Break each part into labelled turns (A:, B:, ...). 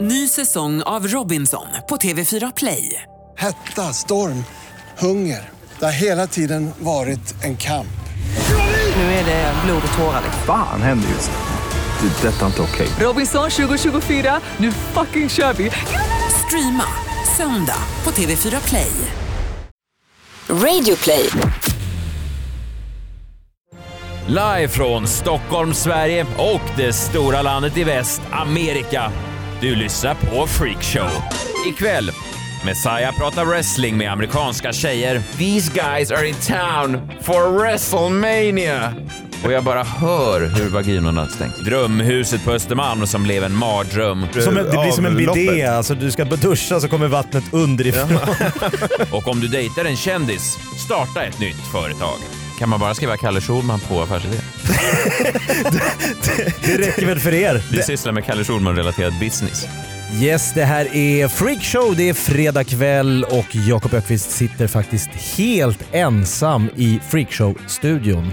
A: Ny säsong av Robinson på TV4 Play.
B: Hetta, storm, hunger. Det har hela tiden varit en kamp.
A: Nu är det blod och tårar.
C: Fan händer just nu. Det. är Detta är inte okej.
A: Robinson 2024, nu fucking kör vi! Streama söndag på TV4 Play.
D: Radio play.
E: Live från Stockholm, Sverige och det stora landet i väst, Amerika. Du lyssnar på Freakshow. Ikväll, Messiah pratar wrestling med amerikanska tjejer. These guys are in town for WrestleMania. Och jag bara hör hur vaginorna stängs. Drömhuset på Östermalm som blev en mardröm.
F: Som en, det blir som en
G: Avloppet.
F: bidé, alltså du ska duscha så kommer vattnet underifrån.
E: Och om du dejtar en kändis, starta ett nytt företag. Kan man bara skriva Kalle Schulman på affärsidé?
F: Det räcker väl för er?
E: Vi sysslar med Kalle Schulman-relaterad business.
F: Yes, det här är Freak Show. Det är fredag kväll och Jakob Ökvist sitter faktiskt helt ensam i Freak Show-studion.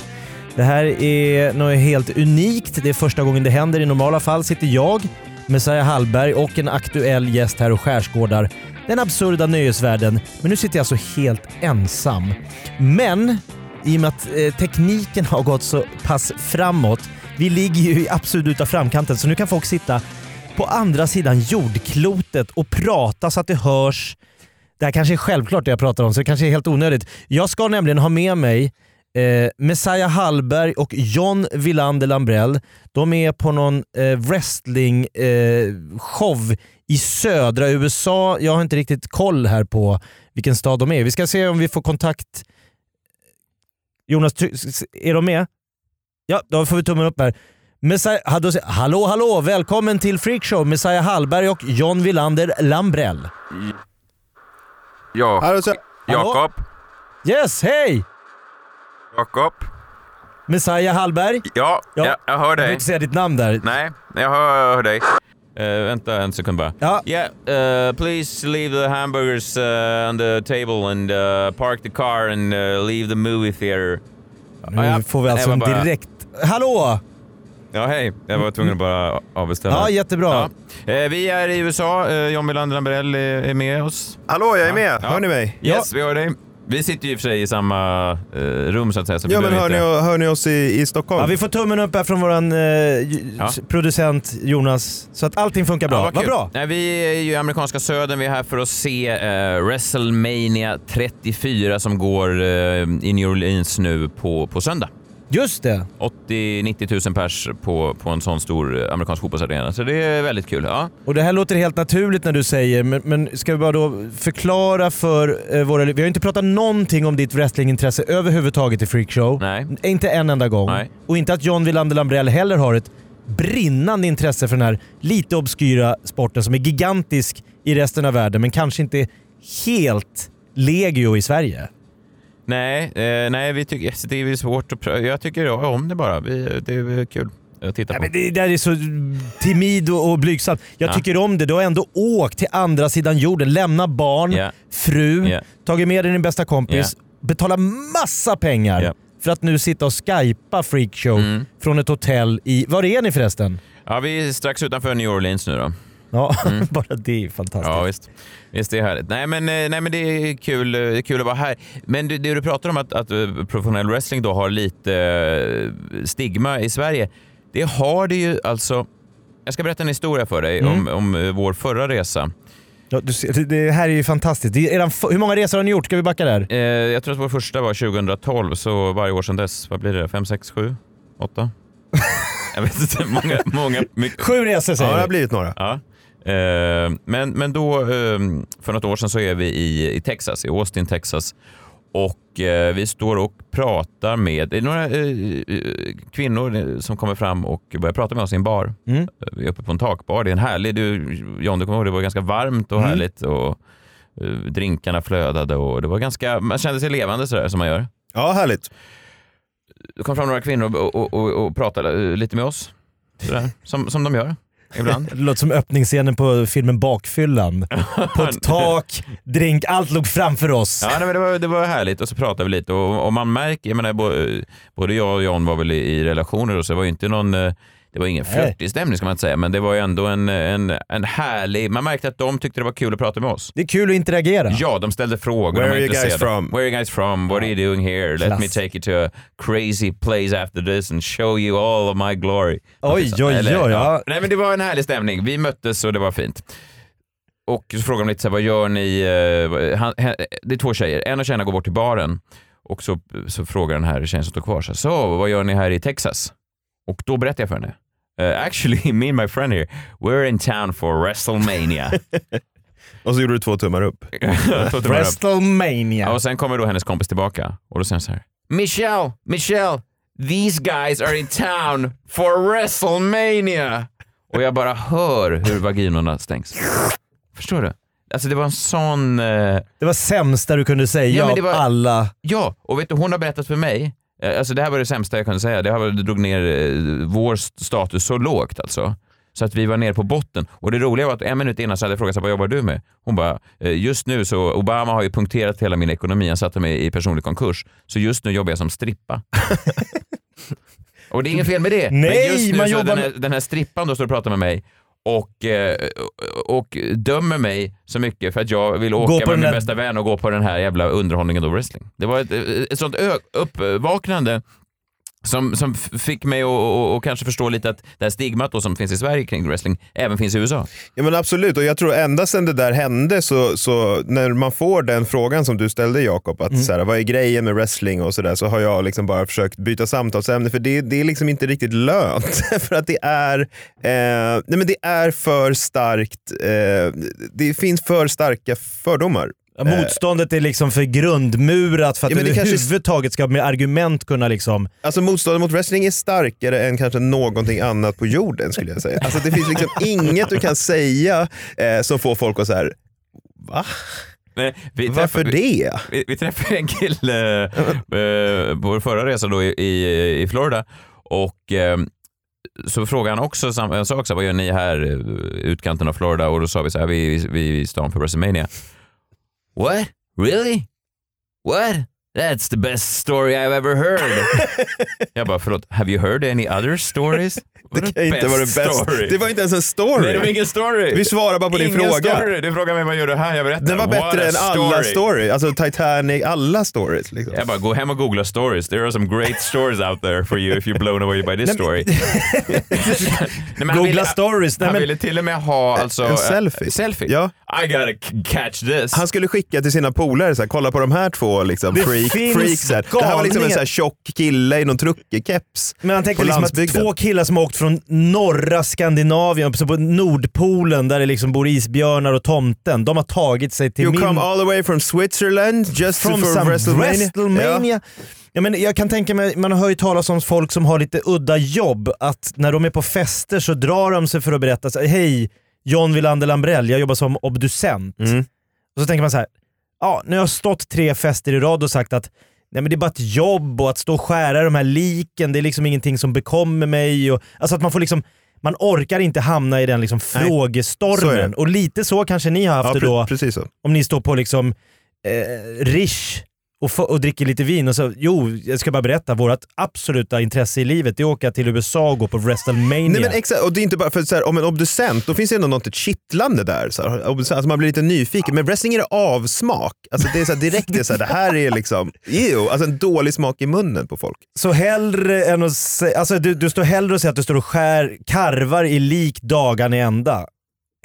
F: Det här är något helt unikt. Det är första gången det händer. I normala fall sitter jag, Messiah Hallberg och en aktuell gäst här och skärskådar den absurda nöjesvärlden. Men nu sitter jag alltså helt ensam. Men i och med att eh, tekniken har gått så pass framåt, vi ligger ju i absoluta framkanten, så nu kan folk sitta på andra sidan jordklotet och prata så att det hörs. Det här kanske är självklart det jag pratar om, så det kanske är helt onödigt. Jag ska nämligen ha med mig eh, Messiah Hallberg och John Wilander Lambrell. De är på någon eh, wrestlingshow eh, show i södra USA. Jag har inte riktigt koll här på vilken stad de är Vi ska se om vi får kontakt. Jonas, ty- s- s- är de med? Ja, då får vi tummen upp här. Messiah, hallå, hallå, hallå! Välkommen till Freakshow, Messiah Hallberg och John Wilander Lambrell.
E: Ja,
G: Hallå, så-
F: Hallå?
E: Jakob.
F: Yes, hej!
E: Jakob.
F: Messiah Hallberg.
E: Ja,
F: Ja.
E: Jag, jag hör
F: Jag vill
E: dig.
F: inte säga ditt namn där.
E: Nej, jag hör, hör dig. Eh, vänta en sekund bara.
F: Ja.
E: Yeah, uh, please leave the hamburgers uh, on the table and uh, park the car and uh, leave the movie theater.
F: Nu får vi alltså
E: Nej, men
F: en
E: bara-
F: direkt... Hallå!
E: Ja, hej. Jag var tvungen att bara avbeställa.
F: Ja, jättebra.
E: Ja. Eh, vi är i USA. Eh, John Melander Lambrell är, är med oss.
G: Hallå, jag är med.
E: Ja.
G: Hör ni mig?
E: Yes, vi hör dig. Vi sitter ju i och för sig i samma eh, rum så att säga. Så vi
G: Ja, men
E: behöver
G: hör ni,
E: inte-
G: hör ni oss i, i Stockholm?
F: Ja, vi får tummen upp här från våran eh, ju-
E: Ja.
F: producent Jonas, så att allting funkar bra.
E: Ja,
F: vad,
E: kul.
F: bra!
E: Nej, vi är ju i amerikanska södern. Vi är här för att se eh, WrestleMania 34 som går eh, i New Orleans nu på, på söndag.
F: Just det.
E: 80-90 000 pers på, på en sån stor eh, amerikansk fotbollsarena, så det är väldigt kul. Ja.
F: Och det här låter helt naturligt när du säger, men, men ska vi bara då förklara för eh, våra... Vi har ju inte pratat någonting om ditt wrestlingintresse överhuvudtaget i Freakshow.
E: Nej.
F: Inte en enda gång.
E: Nej.
F: Och inte att John Wilander Lambrell heller har ett brinnande intresse för den här lite obskyra sporten som är gigantisk i resten av världen men kanske inte helt legio i Sverige.
E: Nej, eh, nej vi tycker, yes, det är ju svårt att prö- Jag tycker om det bara. Vi, det är kul att titta
F: Nej,
E: på.
F: men det där är så timid och, och blygsam. Jag
E: Ja.
F: tycker om det. Du har ändå åkt till andra sidan jorden, lämnat barn,
E: Ja.
F: fru,
E: Ja.
F: tagit med dig din bästa kompis,
E: Ja.
F: betalat massa pengar
E: Ja. Mm.
F: för att nu sitta och skypa freakshow från ett hotell i... Var är ni förresten?
E: Ja, vi är strax utanför New Orleans nu då.
F: Ja, bara det är fantastiskt.
E: Mm. Ja, visst. Visst, det är härligt. Nej, men, eh, nej, men det är kul, eh, det är kul att vara här. Men du, det du pratar om att, att eh, professionell wrestling då har lite eh, stigma i Sverige. Det har det ju alltså. Jag ska berätta en historia för dig om, om eh, vår förra resa.
F: Ja, du ser, det- det här är ju fantastiskt. Det är eran f- hur många resor har ni gjort? Ska vi backa där?
E: Eh, jag tror att vår första var 2012, så varje år sedan dess, vad blir det? fem sex sju åtta Jag vet inte, många, många, mycket,
F: Sju resor
G: ja, det
F: säger
G: har
F: vi.
G: blivit några.
E: Ja. Eh, men, men då, eh, för något år sedan så är vi i, i Texas, i Austin, Texas. Och eh, vi står och pratar med, det är några eh, eh, kvinnor eh, som kommer fram och börjar prata med oss i en bar. Eh,
F: Mm.
E: Vi är uppe på en takbar. Det är en härlig, du, John du kommer ihåg, det var ganska varmt och
F: Mm.
E: härligt. Och, eh, drinkarna flödade och det var ganska, man kände sig levande sådär som man gör.
G: Ja, härligt.
E: Det kom fram några kvinnor och, och, och, och pratade eh, lite med oss. Sådär, som, som de gör ibland.
F: Det låter som öppningsscenen på filmen Bakfyllan. På ett tak, drink, allt låg framför oss.
E: Ja, nej, men det, var, det var härligt och så pratade vi lite och, och man märker, jag menar, bo- både jag och John var väl i, i relationer och så det var ju inte någon eh, det var ingen
F: Nej.
E: flörtig stämning ska man inte säga, men det var ju ändå en, en, en härlig... Man märkte att de tyckte det var kul att prata med oss.
F: Det är kul att interagera.
E: Ja, de ställde frågor. de
G: Where
E: var
G: are you guys
E: intresserade.
G: from?
E: Where are you guys from? What are you doing here? Let
F: Klass.
E: me take you to a crazy place after this and show you all of my glory.
F: Oj, oj, oj.
E: liksom. Eller,
F: ja.
E: Nej, men det var en härlig stämning. Vi möttes och det var fint. Och så frågade de lite så här, vad gör ni? eh, vad- han- he- Det är två tjejer. En av tjejerna går bort till baren och så, så frågar den här tjejen som står kvar så, här, så vad gör ni här i Texas? Och då berättar jag för henne. "Eh, actually, me and my friend here, we're in town for WrestleMania.
G: Och så gjorde du två tummar upp.
E: Så det var- Ja,
F: WrestleMania.
E: och sen kommer då hennes kompis tillbaka och då säger hon så här. Michelle, Michelle, these guys are in town for WrestleMania. Och jag bara hör hur vaginorna stängs. Förstår du? Alltså det var en sån... Eh,
F: Det var sämsta du kunde säga
E: Ja, men
F: av
E: det var-
F: alla.
E: ja, och vet du, hon har berättat för mig, eh, alltså det här var det sämsta jag kunde säga, det, här var, det drog ner eh, vår st- status så lågt alltså. Så att vi var ner på botten. Och det roliga var att en minut innan så hade jag frågat så här, vad jobbar du med? Hon bara, eh, just nu så, Obama har ju punkterat hela min ekonomi, han satte mig i personlig konkurs, så just nu jobbar jag som strippa. och det är inget fel med det.
F: Nej,
E: Men just nu
F: man
E: så
F: jobbar
E: den, här, den här strippan då står och pratar med mig och, eh, och dömer mig så mycket för att jag vill åka
F: på
E: med
F: den
E: min
F: där-
E: bästa vän och gå på den här jävla underhållningen då wrestling. Det var ett, ett sånt ö- uppvaknande som, som f- fick mig att och, och kanske förstå lite att det här stigmat då som finns i Sverige kring wrestling även finns i USA.
G: Ja men absolut, och jag tror ända sedan det där hände så, så när man får den frågan som du ställde Jakob, att så här, vad är grejen med wrestling och sådär, så har jag liksom bara försökt byta samtalsämne för det, det är liksom inte riktigt lönt. för att det är, eh, nej men det är för starkt, eh, det finns för starka fördomar.
F: Motståndet är liksom för grundmurat för att
G: Ja, men
F: du
G: det kanske-
F: överhuvudtaget ska med argument kunna liksom...
G: Alltså motståndet mot wrestling är starkare än kanske någonting annat på jorden skulle jag säga. Alltså det finns liksom inget du kan säga eh, som får folk att så här, va?
E: Nej, vi
G: Varför
E: träffade-
G: det?
E: Vi, vi träffade en kille eh, på vår förra resa då i, i, i Florida och eh, så frågade han också sam- en sak, så här, vad gör ni här eh, utkanten av Florida? Och då sa vi så här, vi vi- vi är i stan för WrestleMania. What? Really? What? That's the best story I've ever heard. Jag bara, förlåt, have you heard any other stories?
G: Det kan inte vara det bästa.
E: story?
G: Det var inte ens en story.
E: Nej, det var ingen story.
G: Vi svarar bara på din
E: ingen
G: fråga.
E: Story. Du frågar mig vad gör du här? Jag berättar.
G: Den var
E: What a
G: bättre än alla stories. Alltså Titanic, alla stories. Liksom.
E: Jag bara, gå hem och googla stories. There are some great stories out there for you if you're blown away by this story. Nej, men han
F: Googla
E: ville-
F: stories. Nej,
E: Han
F: men-
E: ville till och med ha alltså,
G: en selfie.
E: selfie.
G: Ja.
E: I gotta c- catch this.
G: Han skulle skicka till sina polare, så här, kolla på de här två liksom,
F: Det
G: freak,
F: finns
G: freaks. Här. Det här var liksom
F: galningar.
G: en så här, tjock kille i någon truckerkeps
F: Men han tänker
G: på
F: liksom att
G: landsbygden.
F: två killar som har åkt från norra Skandinavien, upp så på Nordpolen där det liksom bor isbjörnar och tomten, de har tagit sig till
G: You
F: min...
G: come all the way from Switzerland just
F: From
G: for
F: some
G: WrestleMania. Ja.
F: WrestleMania. Ja. men jag kan tänka mig, man hör ju talas om folk som har lite udda jobb, att när de är på fester så drar de sig för att berätta så här, hej, John Wilander Lambrell, jag jobbar som obducent.
G: Mm.
F: Och så tänker man så här, ja, nu har jag stått tre fester i rad och sagt att Nej men det är bara ett jobb och att stå och skära de här liken, det är liksom ingenting som bekommer mig. Och, alltså att man får liksom, man orkar inte hamna i den liksom
G: så är
F: frågestormen.
G: det.
F: Och lite så kanske ni har haft
G: Ja,
F: det då
G: pre- precis så.
F: om ni står på liksom eh, Rish och, få- och dricker lite vin och så, jo, jag ska bara berätta, vårt absoluta intresse i livet det är att åka till USA och gå på WrestleMania.
G: Nej, men exakt, och det är inte bara för att så här, om en obducent, då finns det ändå något kittlande där. Så här, obducent, alltså man blir lite nyfiken. Men wrestling är det avsmak. Alltså det är så här, direkt, det, är så här, det här är liksom, ew, alltså en dålig smak i munnen på folk.
F: Så hellre än att sä- alltså du, du står hellre och säger att du står och skär karvar i lik dagarna i ända,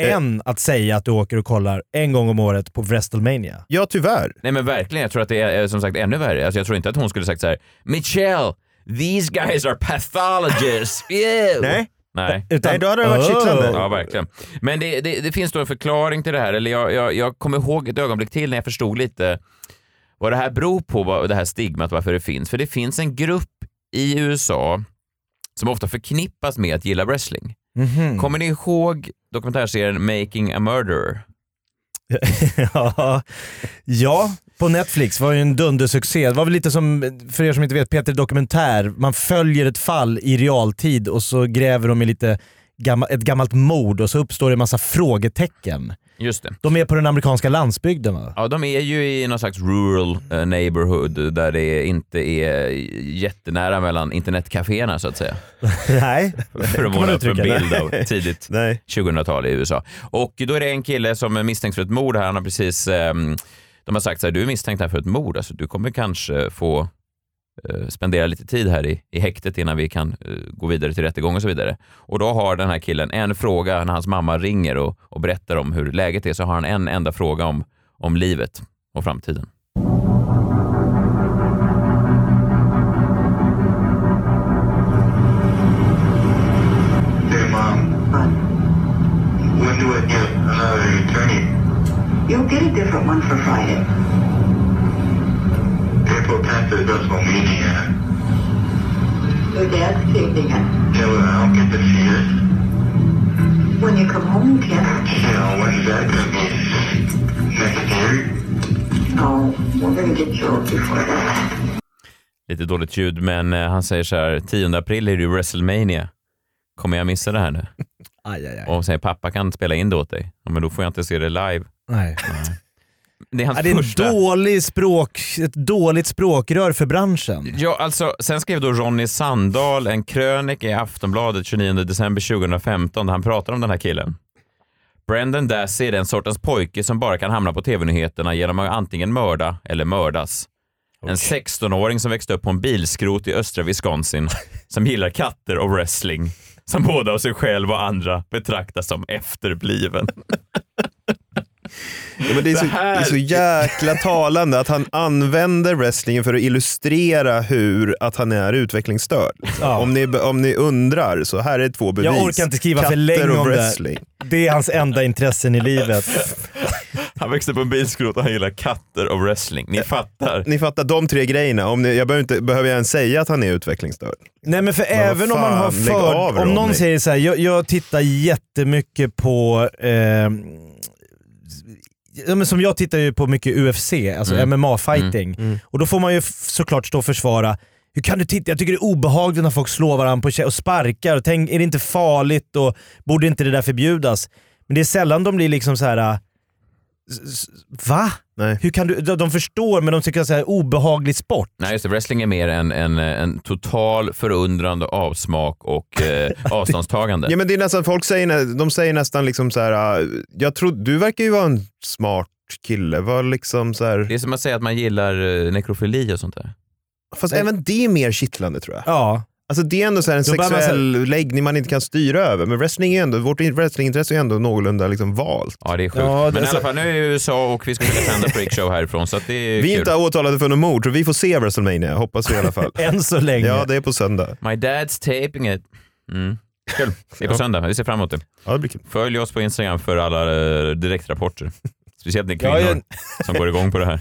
G: Eh.
F: än att säga att du åker och kollar en gång om året på WrestleMania.
G: Ja, tyvärr.
E: Nej men verkligen, jag tror att det är eh, som sagt ännu värre. Alltså, jag tror inte att hon skulle sagt så här, Michelle, these guys are pathologists. Ew."
G: Nej.
E: Nej.
F: Utan,
G: Nej, då hade det varit kittlande.
F: Oh.
E: Ja, verkligen. Men det, det, det finns då en förklaring till det här, eller jag, jag, jag kommer ihåg ett ögonblick till när jag förstod lite vad det här beror på, vad, det här stigmat, varför det finns. För det finns en grupp i USA som ofta förknippas med att gilla wrestling.
F: Mhm.
E: Kommer ni ihåg dokumentärserien Making a Murderer?
F: ja. ja, på Netflix var ju en dundersuccé. Det var väl lite som, för er som inte vet, Peter Dokumentär. Man följer ett fall i realtid och så gräver de i lite gamma, ett gammalt mord och så uppstår det en massa frågetecken.
E: Just det.
F: De är på den amerikanska landsbygden va?
E: Ja, de är ju i någon slags rural eh, neighborhood där det inte är jättenära mellan internetcaféerna så att säga.
F: Nej.
E: För att
F: man
E: måla upp en
F: uttrycka det.
E: bild av tidigt
G: Nej.
E: 2000-tal i USA. Och då är det en kille som är misstänkt för ett mord här. Han har precis, ehm, de har sagt så här, du är misstänkt här för ett mord. Alltså, du kommer kanske få eh, spendera lite tid här i, i häktet innan vi kan eh, gå vidare till rättegång och så vidare. Och då har den här killen en fråga när hans mamma ringer och, och berättar om hur läget är. Så har han en enda fråga om, om livet och framtiden.
H: Hey, Mom, when do I get another attorney?
I: You'll get a different one for Friday.
H: April 10th is Russell meeting, and
I: Your dad's taping it.
H: yeah, well, I don't get to see it.
I: When you come home, you can.
H: You know, uh, when's that gonna be? Next year?
I: Oh, we're gonna get you up before that.
E: Lite dåligt ljud, men eh, han säger så här, 10 april är det ju WrestleMania. Kommer jag missa det här nu?
F: Aj, aj, aj.
E: Och säger pappa kan spela in det åt dig. Ja, men då får jag inte se det live.
F: Nej.
E: Det är hans
F: Ja, det är
E: första.
F: en dålig språk, ett dåligt språkrör för branschen.
E: Ja, alltså, sen skrev då Ronny Sandahl en krönika i Aftonbladet 29 december 2015 där han pratar om den här killen. Brendan Dassey är den sortens pojke som bara kan hamna på tv-nyheterna genom att antingen mörda eller mördas. En 16-åring som växte upp på en bilskrot i östra Wisconsin som gillar katter och wrestling som både av sig själv och andra betraktas som efterbliven.
G: Ja, men det, är så, det,
E: här-
G: är så jäkla talande att han använder wrestlingen för att illustrera hur att han är utvecklingsstörd. liksom.
F: Ja.
G: Om, ni, om ni undrar, så här är två bevis.
F: Jag orkar inte skriva för
G: Katter
F: länge
G: och
F: om
G: wrestling.
F: det. Det är hans enda intressen i livet.
E: Han växte upp på en bilskrot och han gillar katter och wrestling. Ni fattar.
G: Ni fattar, de tre grejerna. Om ni, jag behöver, inte, behöver jag ens säga att han är utvecklingsstörd?
F: Nej men för
G: Men vad
F: även om man har
G: fan, lägg av,
F: för... Om någon
G: Ronny.
F: säger så här, jag, jag tittar jättemycket på... Eh, ja, men som jag tittar ju på mycket UFC, alltså
G: Mm.
F: MMA-fighting. Och då får man ju f- såklart stå och försvara, hur kan du titta? Jag tycker det är obehagligt när folk slår varandra på kä- och sparkar. Och tänk, är det inte farligt och borde inte det där förbjudas? Men det är sällan de blir liksom så här. eh, s- s- Va?
G: Nej.
F: Hur kan du? De de förstår men de tycker att det är obehaglig sport.
E: Nej, just det. Wrestling är mer en, en, en total förundrande avsmak och eh, avståndstagande.
G: Ja, men det är nästan, folk säger, nä- de säger nästan liksom så här, "Ah, jag tror, du verkar ju vara en smart kille. Var liksom så här,
E: Det är som att säga att man gillar eh, nekrofili och sånt där.
G: fast även det är mer kittlande tror jag.
F: Ja.
G: Alltså det är ändå så här en
F: Då börjar man
G: sexuell läggning man inte kan styra över. Men wrestling är ändå, vårt in- wrestlingintresse är ändå någorlunda liksom valt.
E: Ja, det är sjukt.
F: Ja, det är
E: men i
F: så-
E: alla fall, nu är vi i USA och vi ska kunna sända freakshow härifrån, så att det är
G: Vi är
E: kul.
G: inte åtalade för något mord, så vi får se WrestleMania, hoppas vi i alla fall.
F: Än så länge.
G: ja, det är på söndag.
E: My dad's taping it. Mm. Kul. Det är på söndag. Vi ser fram emot det.
G: Ja, det blir kul.
E: Följ oss på Instagram för alla eh, direktrapporter. Speciellt ni kvinnor
F: jag-
E: som går igång på det här.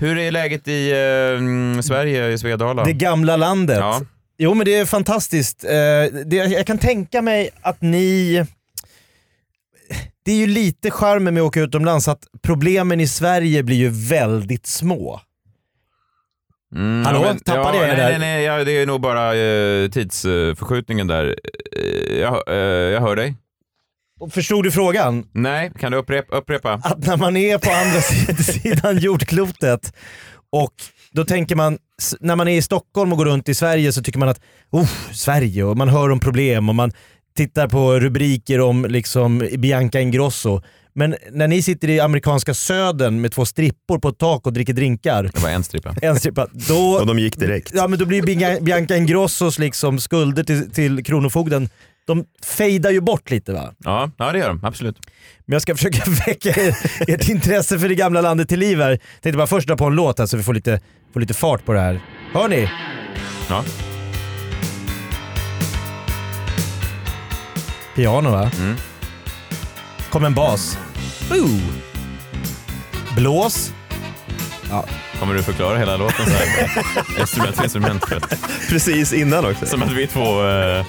E: Hur är läget i eh, mm, Sverige, i Svedala?
F: Det gamla landet.
E: Ja.
F: Jo men det är fantastiskt. Eh, det, jag kan tänka mig att ni... Det är ju lite charmen med att åka utomlands att problemen i Sverige blir ju väldigt små.
E: Mm,
F: Hallå?
E: ja, men-
F: Tappade
E: ja,
F: jag er
E: nej, Nej,
F: där?
E: nej, ja, det är nog bara eh, tidsförskjutningen där. Eh, jag, eh, jag hör dig.
F: Och Förstod du frågan?
E: Nej, kan du upprepa? upprepa?
F: Att när man är på andra sid- sidan jordklotet och då tänker man, s- när man är i Stockholm och går runt i Sverige så tycker man att oh, Sverige och man hör om problem och man tittar på rubriker om liksom Bianca Ingrosso. Men när ni sitter i amerikanska södern med två strippor på ett tak och dricker drinkar.
E: Det var en strippa.
F: En strippa. Då,
G: Och de gick direkt.
F: ja, men då blir ju Binga- Bianca Ingrossos liksom skulder till, till Kronofogden, de fejdar ju bort lite va?
E: Ja, ja, det gör de. Absolut.
F: Men jag ska försöka väcka er, ert intresse för det gamla landet till liv här. Tänkte bara först dra på en låt här så vi får lite, får lite fart på det här. Hör ni?
E: Ja.
F: Piano va? Kom en bas. Ooh. Blås.
E: Kommer du förklara hela låten så här? Instrument för instrument. för att-
G: Precis innan också.
E: Som att vi två... eh,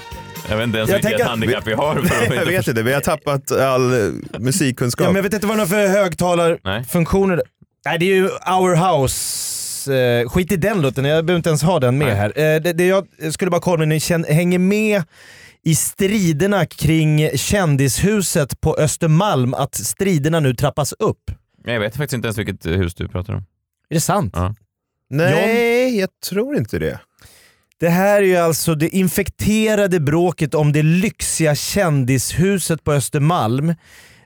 E: jag vet inte ens
F: Jag
E: vilket
F: tänker att-
E: handikapp vi har. För att vi
G: Jag
E: inte
G: vet inte, vi har tappat all eh, musikkunskap.
F: Ja, men jag vet inte vad det är för högtalarfunktioner. Nej. det är ju Our House. Eh, Skit i den låten, jag behöver inte ens ha den med
E: Nej.
F: här. Eh, Det, det jag skulle bara kolla om ni känner, hänger med i striderna kring kändishuset på Östermalm, att striderna nu trappas upp.
E: Jag vet faktiskt inte ens vilket eh, hus du pratar om.
F: Är det sant?
E: Ja.
G: Nej, jag tror inte det.
F: Det här är ju alltså det infekterade bråket om det lyxiga kändishuset på Östermalm.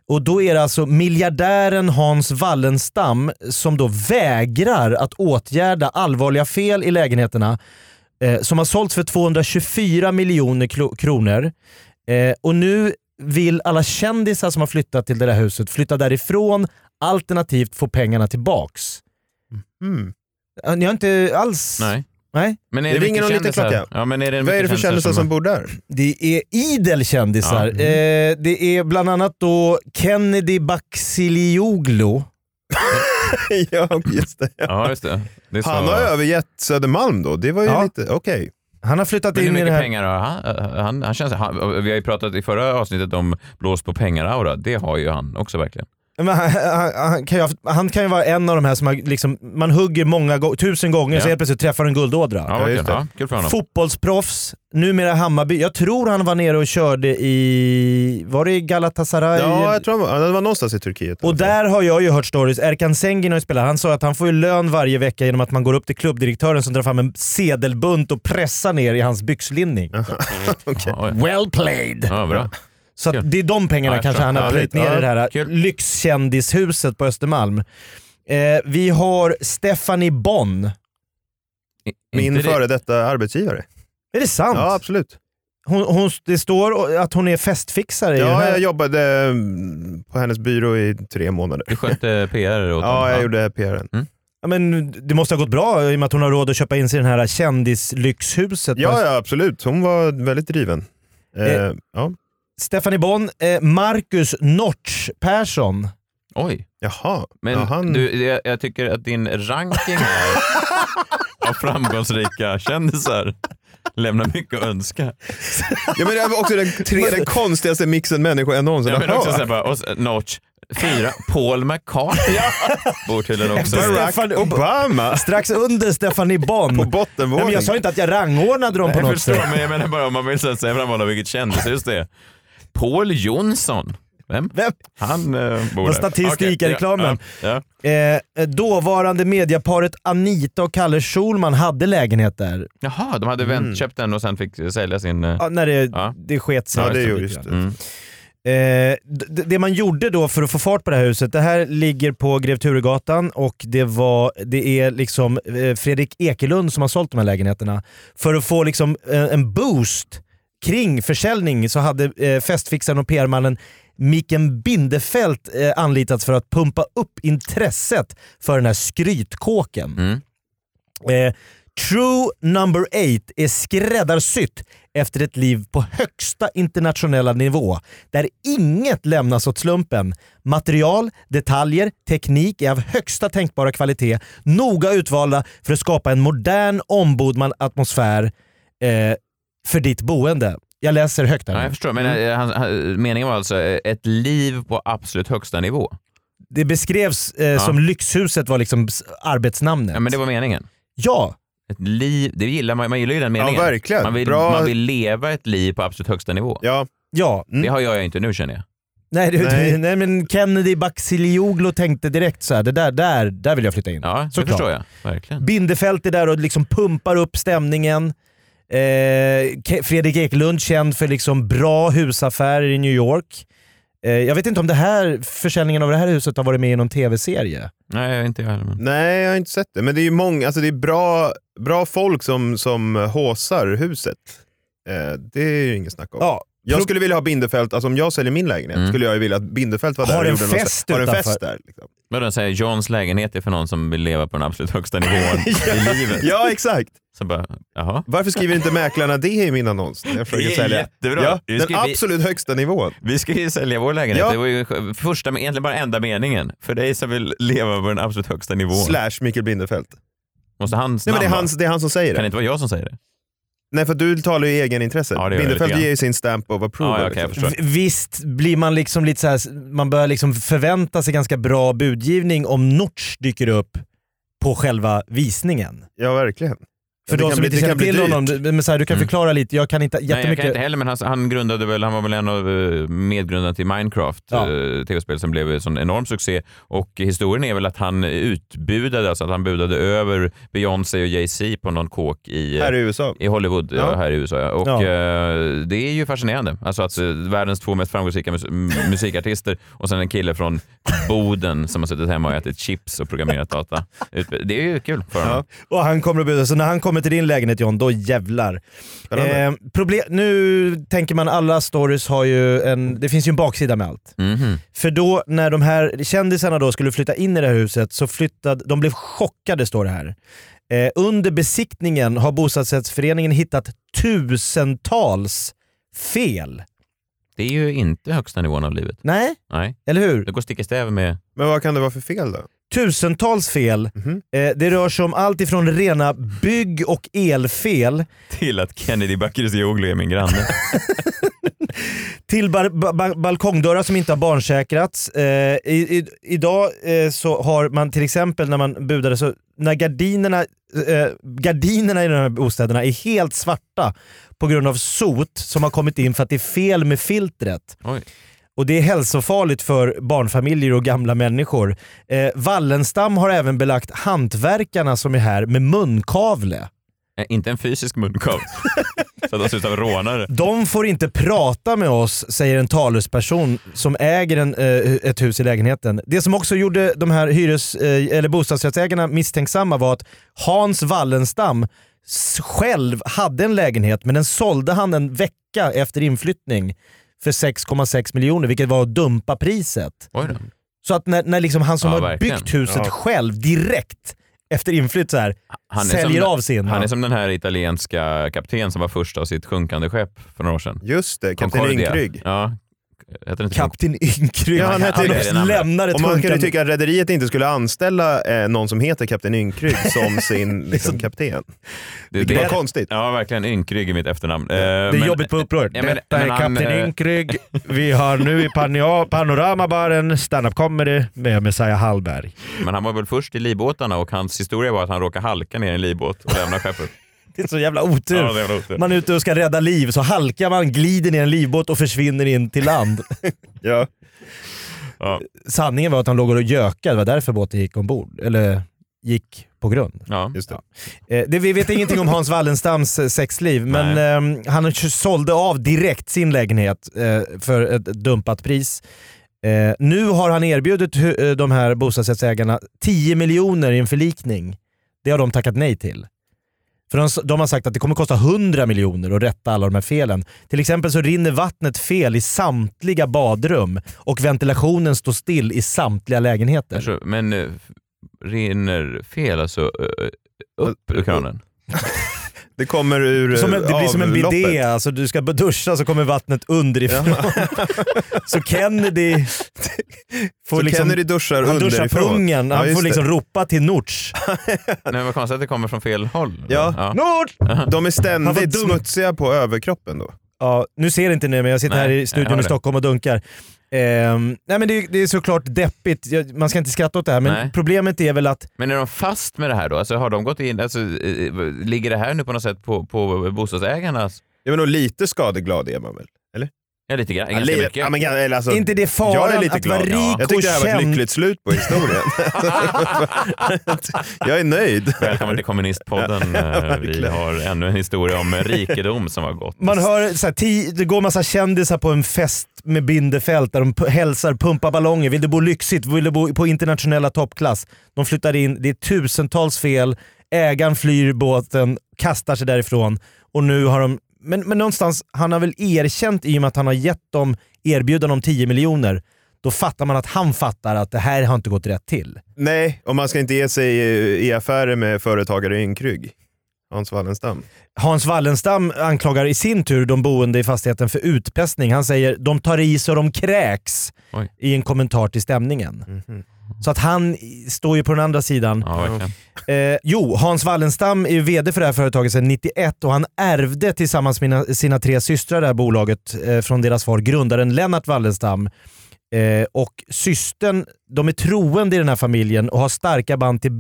F: Och då är det alltså miljardären Hans Wallenstam som då vägrar att åtgärda allvarliga fel i lägenheterna eh, som har sålts för 224 miljoner klo- kronor. Eh, och nu vill alla kändisar som har flyttat till det där huset flytta därifrån alternativt få pengarna tillbaks.
G: Mm.
F: Eh, Ni har inte alls...
E: Nej.
F: Nej?
E: Men
G: Det
E: det
G: ringer
E: mycket
G: någon liten
E: kändisar?
G: klocka.
E: Ja, men är det
G: Vad är det för kändisar som bor där?
F: Det är idel kändisar.
E: Ja. Mm.
F: Eh, det är bland annat då Kennedy Bakilioglu.
G: ja, just det.
E: Ja, just det. det är så...
G: Han har övergett Södermalm då. Det var ju
F: Ja.
G: lite, okej.
F: Han har flyttat
E: Men hur
F: in i det
E: mycket
F: här...
E: pengar har han? han, han känns, han? Vi har ju pratat i förra avsnittet om blås på pengar-aura. Det har ju han också verkligen.
F: Men han, han, han, kan ju, ha haft- han kan ju vara en av de här som har liksom, man hugger många go- tusen gånger
E: Ja.
F: så helt plötsligt träffar en guldådra.
E: Ja, verkligen.
G: just det.
E: Ja, kul för honom.
F: Fotbollsproffs, numera Hammarby. Jag tror han var nere och körde i... Var det i Galatasaray?
G: Ja, jag tror han var, han var någonstans i Turkiet. i
F: Och
G: alla fall.
F: där har jag ju hört stories. Erkan Sengin har ju spelat. Han sa att han får ju lön varje vecka genom att man går upp till klubbdirektören som drar fram en sedelbunt och pressar ner i hans byxlinning.
E: Ja, oj.
F: Well played!
E: ja, bra.
F: Så
E: kul.
F: att det är de
E: Ja,
F: pengarna
E: jag
F: kanske
E: förstår.
F: han har
E: Ja,
F: plöjt
G: lite.
F: ner i det här
E: kul.
F: lyxkändishuset på Östermalm. Eh, vi har Stephanie Bonn.
E: I-
G: Min
E: inte det-
G: före detta arbetsgivare.
F: Är det sant?
G: Ja, absolut.
F: Hon, hon, det står att hon är festfixare i den
G: Ja,
F: här.
G: jag jobbade mm, på hennes byrå i tre månader.
E: Du skötte PR åt
G: Ja, jag gjorde PRn.
F: Ja, men det måste ha gått bra i och med att hon har råd att köpa in sig i det här kändislyxhuset. på
G: Ja, ja, absolut. Hon var väldigt driven. Eh,
F: Eh,
G: ja.
F: Stephanie Bonn, eh, Marcus Notch Persson.
E: Oj.
G: Jaha.
E: Men
G: ja, han...
E: du, jag, jag tycker att din ranking här av framgångsrika kändisar lämnar mycket att önska.
G: ja, men det var också den, tre, den konstigaste mixen människor jag någonsin
E: Ja,
G: har
E: men också så här
G: hört.
E: bara, och, så- notch. Fyra, Paul McCartney bor tydligen också.
G: Barack
F: Stefan-
G: Obama
F: Strax under Stephanie Bonn.
G: på bottenvåningen.
F: Nej, men jag sa inte att jag rangordnade dem på
E: Jag
F: något sätt.
E: förstår, men jag menar bara om man vill så här säga framhålla vilket kändishus det är. Paul Jonsson. Vem?
F: Vem?
E: Han eh, bor
F: Vad
E: där.
F: statistikareklamen.
E: Okej, Ja, ja,
F: Eh, dåvarande mediaparet Anita och Kalle Schulman hade lägenhet där.
E: ja. Jaha, de hade
G: Mm.
E: vänt, köpt den och sen fick sälja sin... eh,
F: Ja, när det,
E: Ja.
F: det sket sig.
G: Ja, det
E: just
G: är
E: det.
G: ju just det.
E: Mm.
F: Eh, d- det man gjorde då för att få fart på det här huset, det här ligger på Grev Turegatan och det, var, det är liksom eh, Fredrik Ekelund som har sålt de här lägenheterna. För att få liksom eh, en boost kring försäljning så hade eh, festfixaren och PR-mannen Miken Bindefeld eh, anlitats för att pumpa upp intresset för den här skrytkåken.
E: Mm.
F: Eh, True number eight är skräddarsytt efter ett liv på högsta internationella nivå där inget lämnas åt slumpen. Material, detaljer, teknik är av högsta tänkbara kvalitet, noga utvalda för att skapa en modern ombodman atmosfär eh, för ditt boende. Jag läser högt här.
E: Ja, jag förstår, men
G: Mm.
E: eh, han, han, meningen var alltså eh, ett liv på absolut högsta nivå.
F: Det beskrevs eh, som lyxhuset var liksom s- arbetsnamnet.
E: Ja, men det var meningen.
F: Ja,
E: Ett liv, det gillar man, man gillar ju den meningen.
G: Ja, verkligen.
E: Man vill,
G: Bra-
E: man vill leva ett liv på absolut högsta nivå.
G: Ja,
F: ja.
E: Det har jag ju inte nu känner jag.
F: Nej, det, nej.
G: Nej.
F: men Kennedy Bakilioglu tänkte direkt så här, det där, där, där vill jag flytta in.
E: Ja, så
F: Såklart.
E: förstår jag. Verkligen.
F: Bindefält är där och liksom pumpar upp stämningen. Eh, Ke- Fredrik Ekelund känd för liksom bra husaffärer i New York. Eh, Jag vet inte om det här, försäljningen av det här huset har varit med i någon tv-serie.
E: Nej, inte jag heller.
G: Nej, jag har inte sett det. Men det är ju många, alltså det är bra, bra folk som, som håsar huset. Eh, det är ju inget snack om.
F: Ja,
G: Jag
F: pro-
G: skulle vilja ha Bindefält, alltså om jag säljer min lägenhet
E: Mm.
G: skulle jag ju vilja att Bindefält var där
F: Har
G: och
F: en
G: gjorde någon-
F: fest
G: har en
F: utanför.
G: fest där. Liksom.
E: Men den säger Johns lägenhet är för någon som vill leva på den absolut högsta nivån i livet.
G: Ja, exakt.
E: Så bara, jaha.
G: Varför skriver inte mäklarna det i min annons? När jag försöker
E: Det är
G: sälja?
E: jättebra.
G: Ja,
E: Vi
G: den
E: skriver-
G: absolut högsta nivån.
E: Vi ska ju sälja vår lägenhet.
G: Ja.
E: Det var ju första, egentligen bara enda meningen. För dig som vill leva på den absolut högsta nivån.
G: Slash Mikael Bindefält.
E: Måste hans
G: Nej, men
E: namn
G: det, är
E: vara?
G: hans, det är han som säger
E: Kan det
G: det.
E: inte vara jag som säger det?
G: Nej, för du talar ju i egenintresse.
E: Ja, det gör jag lite
G: Bindefält
E: grann.
G: ger ju sin stamp of approval.
E: Ja, ja, okej, jag
G: liksom.
E: förstår.
F: V- Visst blir man liksom lite så här, man börjar liksom förvänta sig ganska bra budgivning om Notch dyker upp på själva visningen.
G: ja verkligen.
F: För
G: Ja, det
F: de
G: kan
F: som
G: bli-
F: inte
G: det
F: känner
G: kan bli
F: till
G: dyrt.
F: honom, du- men så här, du kan
E: Mm.
F: förklara lite. Jag kan inte
E: Nej, jag
F: jättemycket.
E: kan inte heller, men han, han grundade väl, han var väl en av eh, medgrundarna till Minecraft,
F: Ja.
E: eh, tv-spel som blev en sån enorm succé. Och historien är väl att han utbudade, alltså att han budade över Beyoncé och Jay-Z på någon kåk i, eh,
G: Här i USA.
E: i Hollywood, ja.
G: Ja.
E: här i USA. ja. Och
F: Ja.
E: eh, det är ju fascinerande. Alltså att eh, världens två mest framgångsrika mus- m- musikartister och sen en kille från Boden som har suttit hemma och ätit chips och programmerat data. Utb- Det är ju kul för honom.
F: Och han kommer att bjuda, så när han kommer till din lägenhet John, då jävlar. Eh, Ehm,
G: Spännande.
F: problem, nu tänker man alla stories har ju en, det finns ju en baksida med allt.
E: Mhm.
F: För då när de här kändisarna då skulle flytta in i det här huset så flyttade, de blev chockade står det här. Eh, under besiktningen har bostadsrättsföreningen hittat tusentals fel.
E: Det är ju inte högsta nivån av livet.
F: Nej,
E: Nej,
F: eller hur?
E: det går stick i stäv med
G: Men vad kan det vara för fel då?
F: Tusentals fel.
G: Mhm.
F: Eh, det rör sig om allt ifrån rena bygg och elfel
E: till att Kennedy Bakircioglu är min granne.
F: till bar- ba- ba- balkongdörrar som inte har barnsäkrats. Eh, i, i, idag eh, så har man till exempel när man budade, så när gardinerna, eh, gardinerna i de här bostäderna är helt svarta på grund av sot som har kommit in för att det är fel med filtret.
E: Oj.
F: Och det är hälsofarligt för barnfamiljer och gamla människor. Eh, Wallenstam har även belagt hantverkarna som är här med munkavle.
E: Eh, Inte en fysisk munkavle. så att de ser ut som rånare.
F: De får inte prata med oss, säger en talesperson som äger en, eh, ett hus i lägenheten. Det som också gjorde de här hyres, eh, eller bostadsrättsägarna misstänksamma var att Hans Wallenstam s- själv hade en lägenhet men den sålde han en vecka efter inflyttning för 6,6 miljoner vilket var att dumpa priset.
E: Oj då.
F: Så att när, när liksom han som
E: Ja,
F: har
E: verkligen.
F: byggt huset
G: Ja.
F: själv direkt efter inflytt så här,
E: Han är
F: säljer
E: som-
F: av sin.
E: Han är som den här italienska kapten som var först av sitt sjunkande skepp för några år sedan.
G: Just det, kapten
E: Concordia.
G: Ynkrygg.
E: Ja. Heter det inte
F: Kapten Ynkrygg.
G: Ja, han heter-
E: han-
F: lämnar ett
G: Och man kan ju
F: hunkande-
G: tycka att rederiet inte skulle anställa eh, någon som heter kapten Ynkrygg som sin liksom, kapten.
E: det,
G: Det var
E: det,
G: konstigt.
E: ja, verkligen. Ynkrygg i mitt efternamn. Det
F: Det är jobbigt på upproret.
E: Ja, Eh, men-
F: Detta
E: men
F: är
E: han,
F: Kapten
E: eh,
F: Ynkrygg. Vi har nu i Pano- Panoramabaren stand-up comedy med Messiah Hallberg.
E: Men han var väl först i livbåtarna och hans historia var att han råkade halka ner i en livbåt och lämna skeppet.
F: Det är så jävla
E: Ja,
F: otur.
E: det var otur.
F: Man är ute och ska rädda liv, så halkar man, glider ner i en livbåt och försvinner in till land.
G: Ja.
E: Ja.
F: Sanningen var att han låg och gökade, det var därför båten gick ombord. Eller gick på grund.
E: Ja.
G: Just det.
F: Eh, det, vi vet ingenting om Hans Wallenstams eh, sexliv, men ehm, han sålde av direkt sin lägenhet eh, för ett dumpat pris. Eh, nu har han erbjudit hu- eh, de här bostadsrättsägarna 10 miljoner i en förlikning. Det har de tackat nej till. För de, s- de har sagt att det kommer kosta 100 miljoner att rätta alla de här felen. Till exempel så rinner vattnet fel i samtliga badrum och ventilationen står still i samtliga lägenheter.
E: Alltså, Men eh, rinner fel alltså eh, upp ur kranen?
G: Det kommer ur
F: Som en, det blir som en
G: avloppet.
F: bidé, alltså du ska duscha så kommer vattnet underifrån. så Kennedy får
G: Så
F: liksom...
G: Kennedy duschar
F: han duschar
G: underifrån.
F: pungen, han
G: Ja,
F: får
G: just
F: liksom ropa till Norts.
E: Nej, vad konstigt att det kommer från fel håll.
G: Ja.
F: Norts!
G: det. De är
F: Han var
G: ständigt
F: dum.
G: smutsiga på överkroppen då.
F: Ja, nu ser inte ni men jag sitter
E: Nej,
F: här i
E: jag hör
F: studion i
E: det.
F: Stockholm och dunkar. Ehm, nej men det, det är såklart deppigt, Jag- man ska inte skratta åt det här men
E: Nej.
F: problemet är väl att
E: Men är de fast med det här då? Alltså, har de gått in, alltså, eh, ligger det här nu på något sätt på, på bostadsägarnas?
G: Jag menar, lite skadeglad är man väl?
E: Ja, lite grann.
G: Ja,
E: Ganska
G: li-
E: mycket.
G: ja, men, eller alltså,
F: Inte det faran
G: jag är lite
F: att vara
G: glad.
F: rik
G: Jag tycker det här
F: och
G: var ett
F: känd.
G: lyckligt slut på historien. jag är nöjd.
E: Välkommen till Kommunistpodden. Eh, Vi har ännu en historia om rikedom som var gott.
F: Man hör så här, ti- det går massa kändisar på en fest med bindefält där de p- hälsar, pumpar ballonger. Vill du bo lyxigt? Vill du bo på internationella toppklass? De flyttar in, det är tusentals fel. Ägaren flyr båten, kastar sig därifrån och nu har de... Men, men någonstans, han har väl erkänt i och med att han har gett dem erbjudande om 10 miljoner. Då fattar man att han fattar att det här har inte gått rätt till.
G: Nej, och man ska inte ge sig i- i affärer med företagare ynkrygg. Hans Wallenstam.
F: Hans Wallenstam anklagar i sin tur de boende i fastigheten för utpressning. Han säger de tar i så de kräks
E: Oj.
F: i en kommentar till stämningen. Så att han i- står ju på den andra sidan.
E: Ja, verkligen.
F: Eh, jo, Hans Wallenstam är ju VD för det här företaget sedan 91 och han ärvde tillsammans med mina- sina tre systrar det här bolaget eh, från deras far, grundaren Lennart Wallenstam. Eh, och systern, de är troende i den här familjen och har starka band till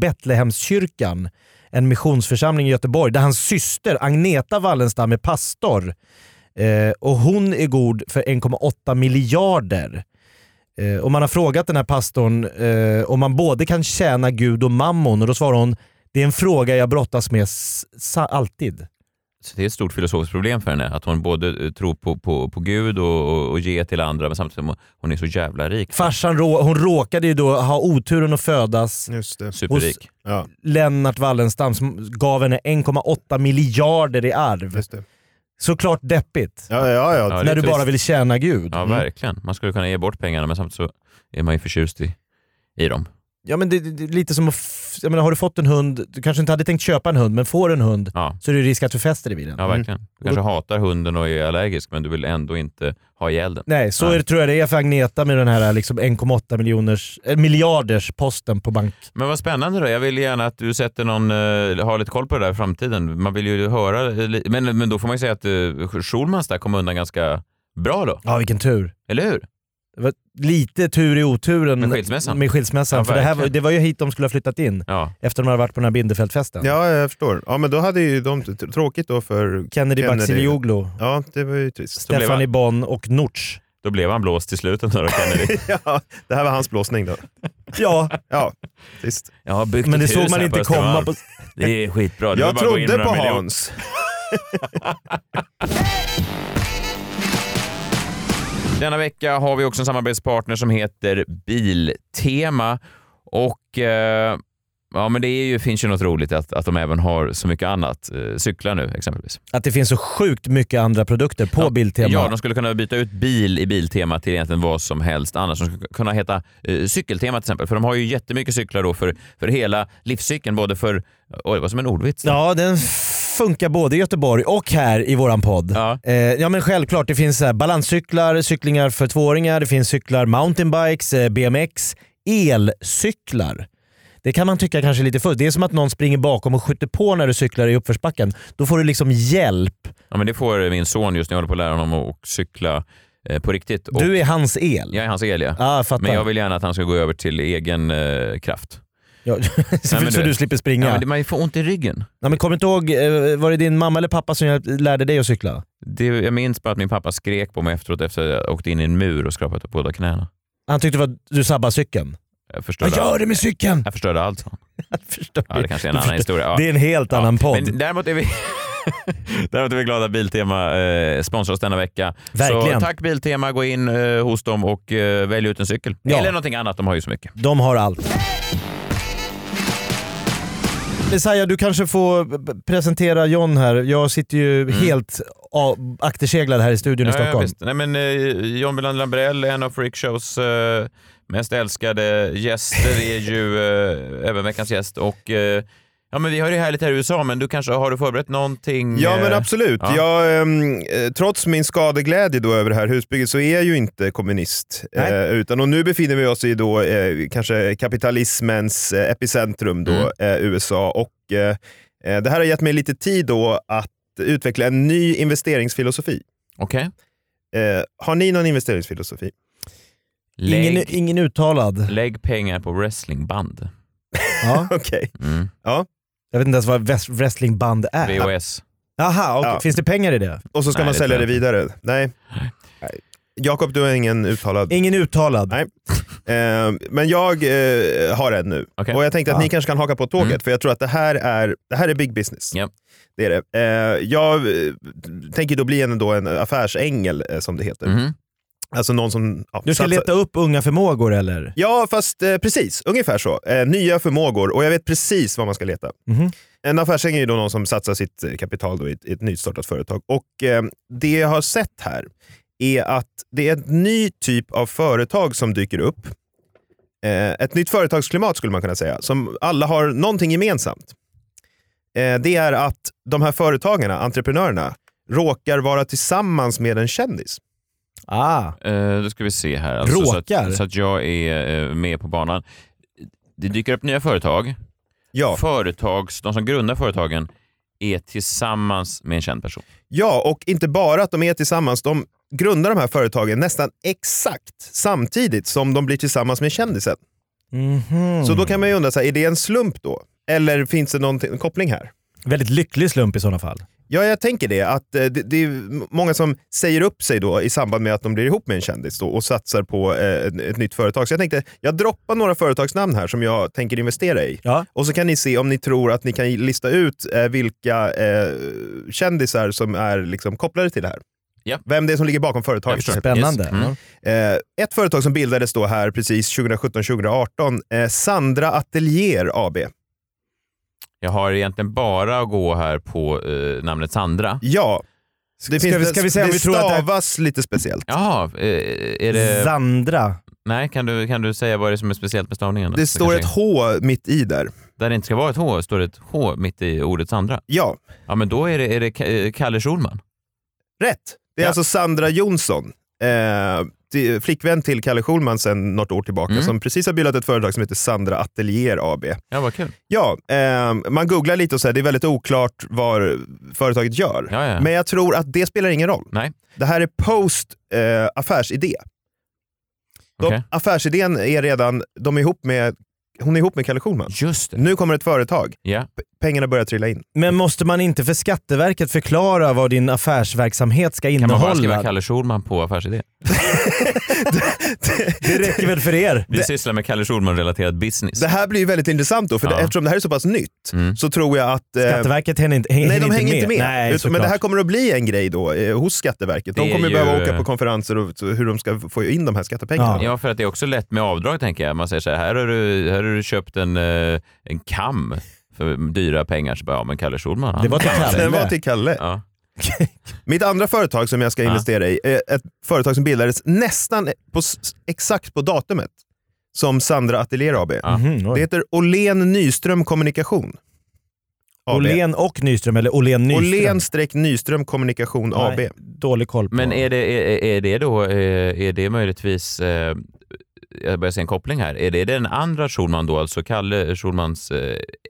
F: Betlehemskyrkan, en missionsförsamling i Göteborg, där hans syster Agneta Wallenstam är pastor. Eh, och hon är god för 1,8 miljarder. Eh, och man har frågat den här pastorn eh, om man både kan tjäna Gud och mammon och då svarar hon det är en fråga jag brottas med s- sa- alltid.
E: Så det är ett stort filosofiskt problem för henne, att hon både eh, tror på, på, på Gud och, och, och ger till andra, men samtidigt som hon- hon är så jävla rik.
F: Farsan rå- hon råkade ju då ha oturen att födas
G: Just det.
E: Superrik.
G: Ja,
F: Lennart Wallenstam som gav henne 1,8 miljarder i arv.
G: just det.
F: Såklart deppigt.
G: Ja, ja, ja.
E: Ja, det är
F: när du
E: trist.
F: bara vill tjäna Gud.
E: Ja,
F: Mm.
E: verkligen. Man skulle kunna ge bort pengarna, men samtidigt så är man ju förtjust i, i dem.
F: Ja, men det, det, det är lite som att... f- Jag menar, har du fått en hund, du kanske inte hade tänkt köpa en hund, men får du en hund
E: Ja,
F: så är det risk att du fäster dig vid den. Mm.
E: ja verkligen. Du kanske hatar hunden och är allergisk, men du vill ändå inte ha ihjäl den.
F: Nej, så
E: Nej.
F: Är det, tror jag det är för Agneta med den här liksom 1,8 miljoners, eh, miljarders posten på bank.
E: Men vad spännande då. Jag vill gärna att du sätter någon, eh, har lite koll på det där i framtiden. Man vill ju höra, eh, li- men, men då får man ju säga att eh, Schulmans där kom undan ganska bra då,
F: Ja, vilken tur.
E: eller hur?
F: Det var lite tur i oturen
E: Med skilsmässan.
F: Med skilsmässan,
E: Ja,
F: för det, här var,
E: verkligen.
F: det var ju hit de skulle ha flyttat in
E: Ja,
F: efter de hade varit på den här Bindefeldfesten.
G: ja, jag förstår. Ja, men då hade ju de t- tråkigt då för...
F: Kennedy,
G: Kennedy.
F: Bakircioglu,
G: Ja, det var ju trist.
E: blev
F: Stephanie
E: han-
F: Bonn och Norts.
E: då blev han blåst till slut ändå då, Kennedy.
G: Ja, det här var hans blåsning då.
F: Ja,
G: Ja, trist.
E: Jag har byggt
F: men
E: ett
F: det såg
E: hus
F: man
E: här
F: inte
E: Östermalm.
F: komma. På...
E: Det är skitbra. Det är
G: Jag
E: bara att gå in
G: trodde
E: med
G: på
E: några miljoner.
G: Hans.
E: Denna vecka har vi också en samarbetspartner som heter Biltema. Och eh, ja, men det är ju, finns ju något roligt att, att de även har så mycket annat. Eh, cyklar nu exempelvis.
F: Att det finns så sjukt mycket andra produkter på Biltema.
E: Ja, de skulle kunna byta ut bil i Biltema till egentligen vad som helst annars. De skulle kunna heta eh, Cykeltema till exempel, för de har ju jättemycket cyklar då för, för hela livscykeln. Både för... Oj, det var som en ordvits.
F: Ja, den funkar både i Göteborg och här i våran podd.
E: Ja.
F: Eh, ja men självklart, det finns så här balanscyklar, cyklingar för tvååringar, det finns cyklar mountainbikes, eh, BMX, elcyklar. Det kan man tycka kanske är lite fullt. Det är som att någon springer bakom och skjuter på när du cyklar i uppförsbacken. Då får du liksom hjälp.
E: Ja, men det får min son just nu. Jag håller på att lära honom att cykla eh, på riktigt. Och
F: Du är hans el.
E: Jag är hans Elia.
F: Ja, jag fattar.
E: Men jag vill gärna att han ska gå över till egen eh, kraft.
F: Ja, så
E: men
F: så
E: du-
F: du slipper
E: Ja.
F: springa.
E: men det- man får ont i ryggen.
F: Nej, men kom inte ihåg, eh, var det din mamma eller pappa som hjälp- lärde dig att cykla?
E: Det, jag minns bara att min pappa skrek på mig efteråt efter att jag åkte in i en mur och skrapat upp båda knäna.
F: Han tyckte det var du sabbade cykeln.
E: Jag
F: Vad
E: förstörde,
F: gör du med cykeln?
E: jag förstörde allt, sa han.
F: Förstår
E: Ja, det
F: du?
E: kanske är en
F: Du
E: annan
F: förstår-
E: historia. Ja.
F: Det är en helt annan
E: Ja,
F: podd.
E: Men däremot är vi... Däremot är vi glada att Biltema eh, sponsrar oss denna vecka.
F: Verkligen.
E: Så tack Biltema, gå in eh, hos dem och eh, välj ut en cykel.
F: Ja.
E: Eller någonting annat, de har ju så mycket.
F: De har allt. Messiah, du kanske får b- presentera John här. Jag sitter ju helt a- akterseglad här i studion i
E: Mm. Ja, ja,
F: Stockholm.
E: visst. Nej, men, eh, John Belander Lambrell, en av Freakshows eh, mest älskade gäster, är ju eh, även veckans gäst. Och, eh, ja, men vi har det härligt här i USA, men du kanske har du förberett någonting?
G: Ja men
E: eh,
G: absolut.
E: ja.
G: Jag, ehm, eh, trots min skadeglädje då över det här husbygget så är jag ju inte kommunist.
F: Nej.
G: Eh, utan, och nu befinner vi oss i då, eh, kanske kapitalismens eh, epicentrum, då,
E: Mm.
G: eh, USA. Och, eh, eh, det här har gett mig lite tid då att utveckla en ny investeringsfilosofi.
E: Okej.
G: Eh, har ni någon investeringsfilosofi?
E: Lägg,
F: Ingen, ingen uttalad.
E: lägg pengar på wrestlingband.
F: Ja.
G: Okej.
E: Mm.
F: Jag vet inte ens vad väs- wrestlingband
G: Äh,
F: är.
E: VHS.
F: Aha, okej.
G: Ja.
F: Finns det pengar i det?
G: Och så ska
E: Nej,
G: man
E: det
G: sälja
E: tror
G: det
E: jag
G: vidare? Nej. Jakob, du har ingen uttalad?
F: Ingen uttalad.
G: Nej. Eh, men jag eh, har en nu. Och jag tänkte att
F: Ah.
G: ni kanske kan haka på tåget,
F: Mm.
G: för jag tror att det här är, det här är big business.
E: Ja.
G: Det är det. Eh, jag eh, tänker då bli en, då en affärsängel, eh, som det heter.
E: Mhm.
G: Alltså någon som... Ja,
F: Mm. Du ska
G: satsar-
F: leta upp unga förmågor eller?
G: Ja, fast eh, precis. Ungefär så. Eh, nya förmågor och jag vet precis vad man ska leta.
F: Mhm.
G: En affärsängel är ju då någon som satsar sitt eh, kapital då i, ett, i ett nystartat företag. Och eh, Det jag har sett här är att det är en ny typ av företag som dyker upp. Eh, ett nytt företagsklimat skulle man kunna säga, som alla har någonting gemensamt. Eh, det är att de här företagarna, entreprenörerna, råkar vara tillsammans med en kändis.
F: Ah.
E: Eh, då ska vi se här. Alltså, Så
F: Råkar?
E: att, så att jag är eh, med på banan. Det dyker upp nya företag.
G: Ja.
E: Företags, de som grundar företagen är tillsammans med en känd person.
G: Ja, och inte bara att de är tillsammans, de grundar de här företagen nästan exakt samtidigt som de blir tillsammans med kändisen.
F: Mhm.
G: Så då kan man ju undra, så här, är det en slump då? Eller finns det någon t- koppling här?
F: Väldigt lycklig slump i sådana fall.
G: Ja, jag tänker det. Att eh, det, det är många som säger upp sig då i samband med att de blir ihop med en kändis då, och satsar på eh, ett, ett nytt företag. Så jag tänkte, jag droppar några företagsnamn här som jag tänker investera i.
F: Ja.
G: Och så kan ni se om ni tror att ni kan lista ut eh, vilka eh, kändisar som är liksom, kopplade till det här.
E: Ja.
G: Vem det är som ligger bakom företaget.
E: förstår.
F: Spännande.
E: Yes. Mm.
G: Eh, ett företag som bildades då här precis 2017-2018, eh, Sandra Atelier AB.
E: Jag har egentligen bara att gå här på eh, namnet Sandra.
G: Ja, det,
F: Ska vi- ska vi säga om
G: det
F: vi tror att det-
G: stavas lite speciellt.
E: Jaha, eh, är det...
F: Zandra.
E: Nej, kan du, kan du säga vad det är som är speciellt med stavningen? då?
G: Det står ett
E: kanske-
G: H mitt i där.
E: Där det inte ska vara ett H står det ett H mitt i ordet Sandra.
G: Ja,
E: Ja, men då är det, är det Ka- eh, Kalle Schulman.
G: rätt. Det är
E: Ja.
G: alltså Sandra Jonsson, eh, det är flickvän till Kalle Schulman sedan något år tillbaka,
E: Mm.
G: som precis har bildat ett företag som heter Sandra Atelier AB.
E: Ja, vad kul.
G: Ja, eh, man googlar lite och så här, det är väldigt oklart vad företaget gör.
E: Ja, ja.
G: Men jag tror att det spelar ingen roll.
E: Nej.
G: Det här är post eh, affärsidé. De,
E: Okej.
G: Affärsidén är redan, de är ihop med, hon är ihop med Kalle Schulman.
E: Just det.
G: Nu kommer ett företag,
E: Ja.
G: P- pengarna börjar trilla in.
F: Men måste man inte för Skatteverket förklara vad din affärsverksamhet ska
E: Kan man bara
F: innehålla?
E: skriva Kalle Schulman på affärsidé?
F: det räcker väl för er?
E: Vi sysslar med Kalle Schulman-relaterad business.
G: Det här blir ju väldigt intressant då, för
E: Ja.
G: det, eftersom det här är så pass nytt
E: Mm.
G: så tror jag att... eh,
F: Skatteverket hänger inte, hänger
G: Nej, de hänger inte med.
F: Nej,
G: Utan- men det här
F: såklart.
G: kommer att bli en grej då eh, hos Skatteverket. De
E: Det är
G: kommer ju
E: ju,
G: behöva åka
E: eh,
G: på konferenser och så hur de ska få in de här skattepengarna.
F: Ja.
E: Ja, för att det är också lätt med avdrag tänker jag. Man säger så här, här har du, här har du köpt en, eh, en kam för dyra pengar. Så bara, ja men Kalle Schulman, han
F: Det var till
G: Den var
F: Kalle.
G: till Kalle.
E: Ja.
G: Mitt andra företag som jag ska
E: Ja.
G: investera i är ett företag som bildades nästan på, s- exakt på datumet som Sandra Atelier AB.
F: Mhm, oj.
G: Det heter Åhlén Nyström Kommunikation. AB.
F: Åhlén och Nyström, eller Åhlén Nyström.
G: Åhlén-Nyström Kommunikation AB.
F: Nej, Dålig koll på.
E: Men är det, är, är det då, eh, är det möjligtvis, eh, jag börjar se en koppling här, är det den andra Schulman då, alltså Kalle Schulmans eh,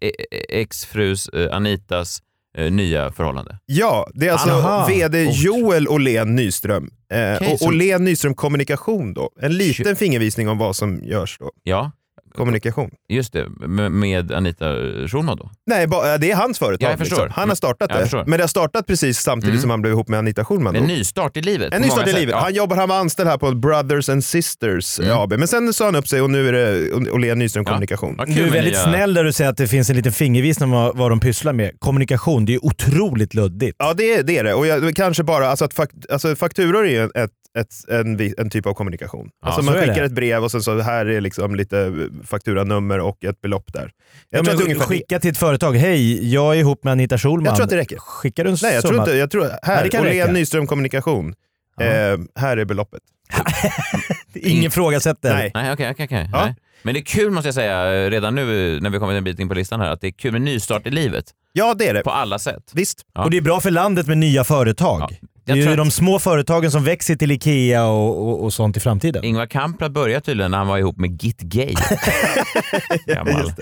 E: e- e- exfrus eh, Anitas eh, nya förhållande?
G: Ja, det är alltså
F: Aha.
G: VD
F: Coolt.
G: Joel Åhlén Nyström. Eh,
E: Okej,
G: och
E: så-
G: Åhlén Nyström Kommunikation då. En liten
E: Tjo-
G: fingervisning om vad som görs då.
E: Ja,
G: Kommunikation.
E: just det, med, med Anita Schulman då.
G: Nej, ba, eh, det är hans
E: Ja,
G: företag. liksom.
E: jag förstår.
G: Han har startat
E: Jag
G: det.
E: förstår.
G: Men det har startat precis samtidigt
E: Mm.
G: som han blev ihop med Anita Schulman.
E: En
G: då.
E: nystart i livet.
G: En
E: på
G: nystart
E: många
G: i
E: sätt.
G: livet.
E: Ja.
G: Han jobbar, han var anställd här på Brothers and Sisters
F: Mm.
G: eh, AB. Men sen sa han upp sig och nu är det Åhlén Nyström
E: Ja.
G: Kommunikation.
E: Vad kul
F: Du är
E: med
F: väldigt
E: nya-
F: snäll där du säger att det finns en liten fingervisning om vad, vad de pysslar med. Kommunikation, det är ju otroligt luddigt.
G: Ja, det är det. Är det. Och jag, kanske bara, alltså att fakt, alltså fakturor är ju ett, ett, en, vi- en typ av kommunikation. alltså
F: så
G: man
F: är
G: skickar
F: det.
G: ett brev och sen så här är liksom lite fakturanummer och ett belopp där. Jag,
F: Ja,
G: tror,
F: men
G: att det är ungefär,
F: skicka till ett företag, hej, jag är ihop med Anita Schulman.
G: jag tror att det räcker.
F: Skickar du en
G: Nej, jag tror
F: summa?
G: inte. Jag tror,
F: Nej, det
G: här,
F: kan räcka.
G: Åhlén Nyström Kommunikation. Eh, här är beloppet.
F: Ingen ifrågasätter.
G: Mm. Nej.
E: Nej, okej, okej. okej.
G: Ja.
E: Nej. Men det är kul måste jag säga, eh, redan nu eh, när vi kommit en bit in på listan här, att det är kul med nystart i livet.
G: Ja, det är det.
E: På alla sätt.
G: Visst.
E: Ja.
F: Och det är bra för landet med nya företag.
E: Ja.
F: Det
E: Jag
F: är ju
E: tror att-
F: de små företagen som växer till IKEA och, och, och sånt i framtiden.
E: Ingvar Kamprad började tydligen när han var ihop med Git Gay. Gammal.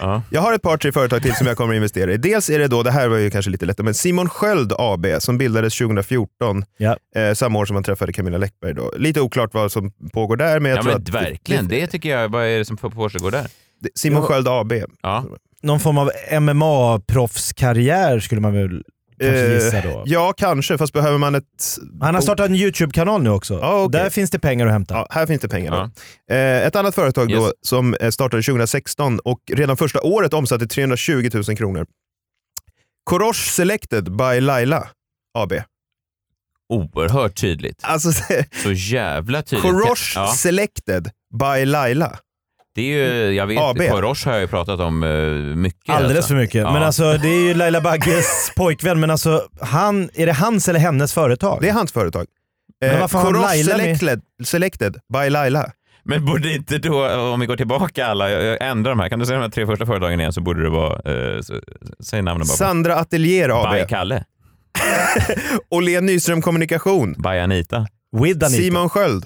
E: Ja.
G: Jag har ett par tre företag till som jag kommer att investera i. Dels är det då, det här var ju kanske lite lättare, men Simon Sköld AB som bildades 2014,
F: Ja.
G: eh, samma år som man träffade Camilla Läckberg. Då. Lite oklart vad som pågår där, men jag
E: ja
G: tror
E: men
G: att
E: verkligen, det tycker jag. Vad är det som försiggår där?
G: det- Simon Sköld AB.
E: Ja.
F: Någon form av MMA-proffskarriär skulle man väl Kanske gissa
G: Eh,
F: då.
G: Ja, kanske. Fast behöver man ett...
F: Han har startat en YouTube-kanal nu också. Där finns det pengar att hämta.
G: Oh. Ah, Ja, här finns det pengar. Då. Eh, ett annat företag då, som eh, startade 2016 och redan första året omsatte 320 000 kronor. Korosh Selected by Laila AB.
E: Oerhört tydligt.
G: Alltså,
E: så jävla tydligt.
G: Korosh
E: Ja.
G: Selected by Laila.
E: Det är ju, jag vet,
G: AB.
E: Korosh har jag ju pratat om eh, mycket.
F: Alldeles för mycket.
E: Ja.
F: Men alltså det är ju Laila Bagges pojkvän, men alltså han, är det hans eller hennes företag?
G: Det är hans företag. Eh,
F: Men varför har han
G: Korosh
F: Laila med?
G: selected, selected by Laila.
E: Men borde inte då, om vi går tillbaka alla, jag- jag ändrar de här. Kan du säga de här tre första företagen igen så borde det vara, eh, så, säg namnen bara.
G: Sandra Atelier AB.
E: By Kalle.
G: Åhlén Nyström Kommunikation.
E: By Anita.
F: With Anita.
G: Simon Sköld.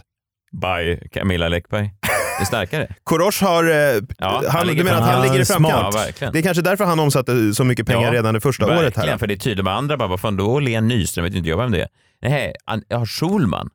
E: By Camilla Läckberg. Det är starkare.
G: Korosh har... eh, han,
E: han ligger
G: du menar att han
E: framkant.
G: ligger i
E: Han är smart.
G: framkant?
E: Ja, verkligen.
G: det är kanske därför han omsatte så mycket pengar
E: Ja,
G: redan det första
E: verkligen,
G: året. här.
E: för det är tydligt med andra bara, vad fan då Len Nyström, vet inte jag vem det är. Nej, han- ja, Schulman.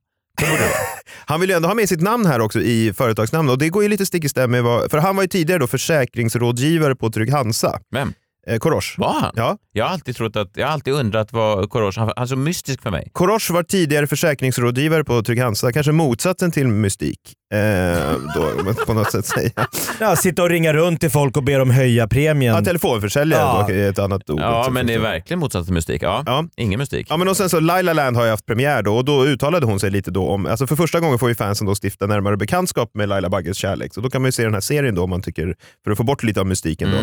G: Han vill ju ändå ha med sitt namn här också i företagsnamn och det går ju lite stick i stäv med vad... För han var ju tidigare då försäkringsrådgivare på Trygg-Hansa.
E: Vem?
G: Eh, Korosh.
E: Var han?
G: Ja.
E: Jag har alltid trott att, jag har alltid undrat vad Korosh, han, han är så mystisk för mig.
G: Korosh var tidigare försäkringsrådgivare på Trygg-Hansa, kanske motsatsen till mystik. Eh, då, om man på något sätt säga.
F: Ja, sitta och ringa runt till folk och be dem höja premien.
G: Ja, telefonförsäljare
F: Ja.
G: då är ett annat ord.
E: Ja,
G: också,
E: men det är
G: förstås.
E: verkligen motsatsen till mystik. Ja,
G: Ja.
E: ingen mystik.
G: Ja, men och sen så Laila Land har ju haft premiär då och då uttalade hon sig lite då om, alltså för första gången får ju fansen då stifta närmare bekantskap med Laila Bagges kärlek. Så då kan man ju se den här serien då om man tycker, för att få bort lite av mystiken då.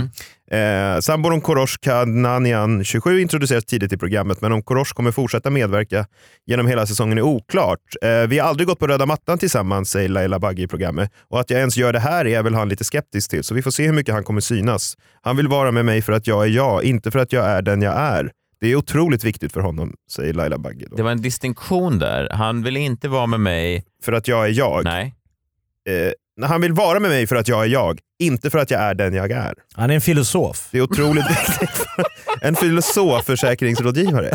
G: Eh, Samboron Korosh Kananian 27 introduceras tidigt i programmet men om Korosh kommer fortsätta medverka genom hela säsongen är oklart. Eh, vi har aldrig gått på röda mattan tillsammans säger Laila Bagge i programmet och att jag ens gör det här är väl han lite skeptisk till så vi får se hur mycket han kommer synas. Han vill vara med mig för att jag är jag, inte för att jag är den jag är. Det är otroligt viktigt för honom, säger Laila Bagge. Då.
E: Det var en distinktion där. Han ville inte vara med mig.
G: För att jag är jag.
E: Nej.
G: Eh, när han vill vara med mig för att jag är jag, inte för att jag är den jag är.
F: Han är en filosof.
G: Det är otroligt viktigt. för- En filosof försäkringsrådgivare.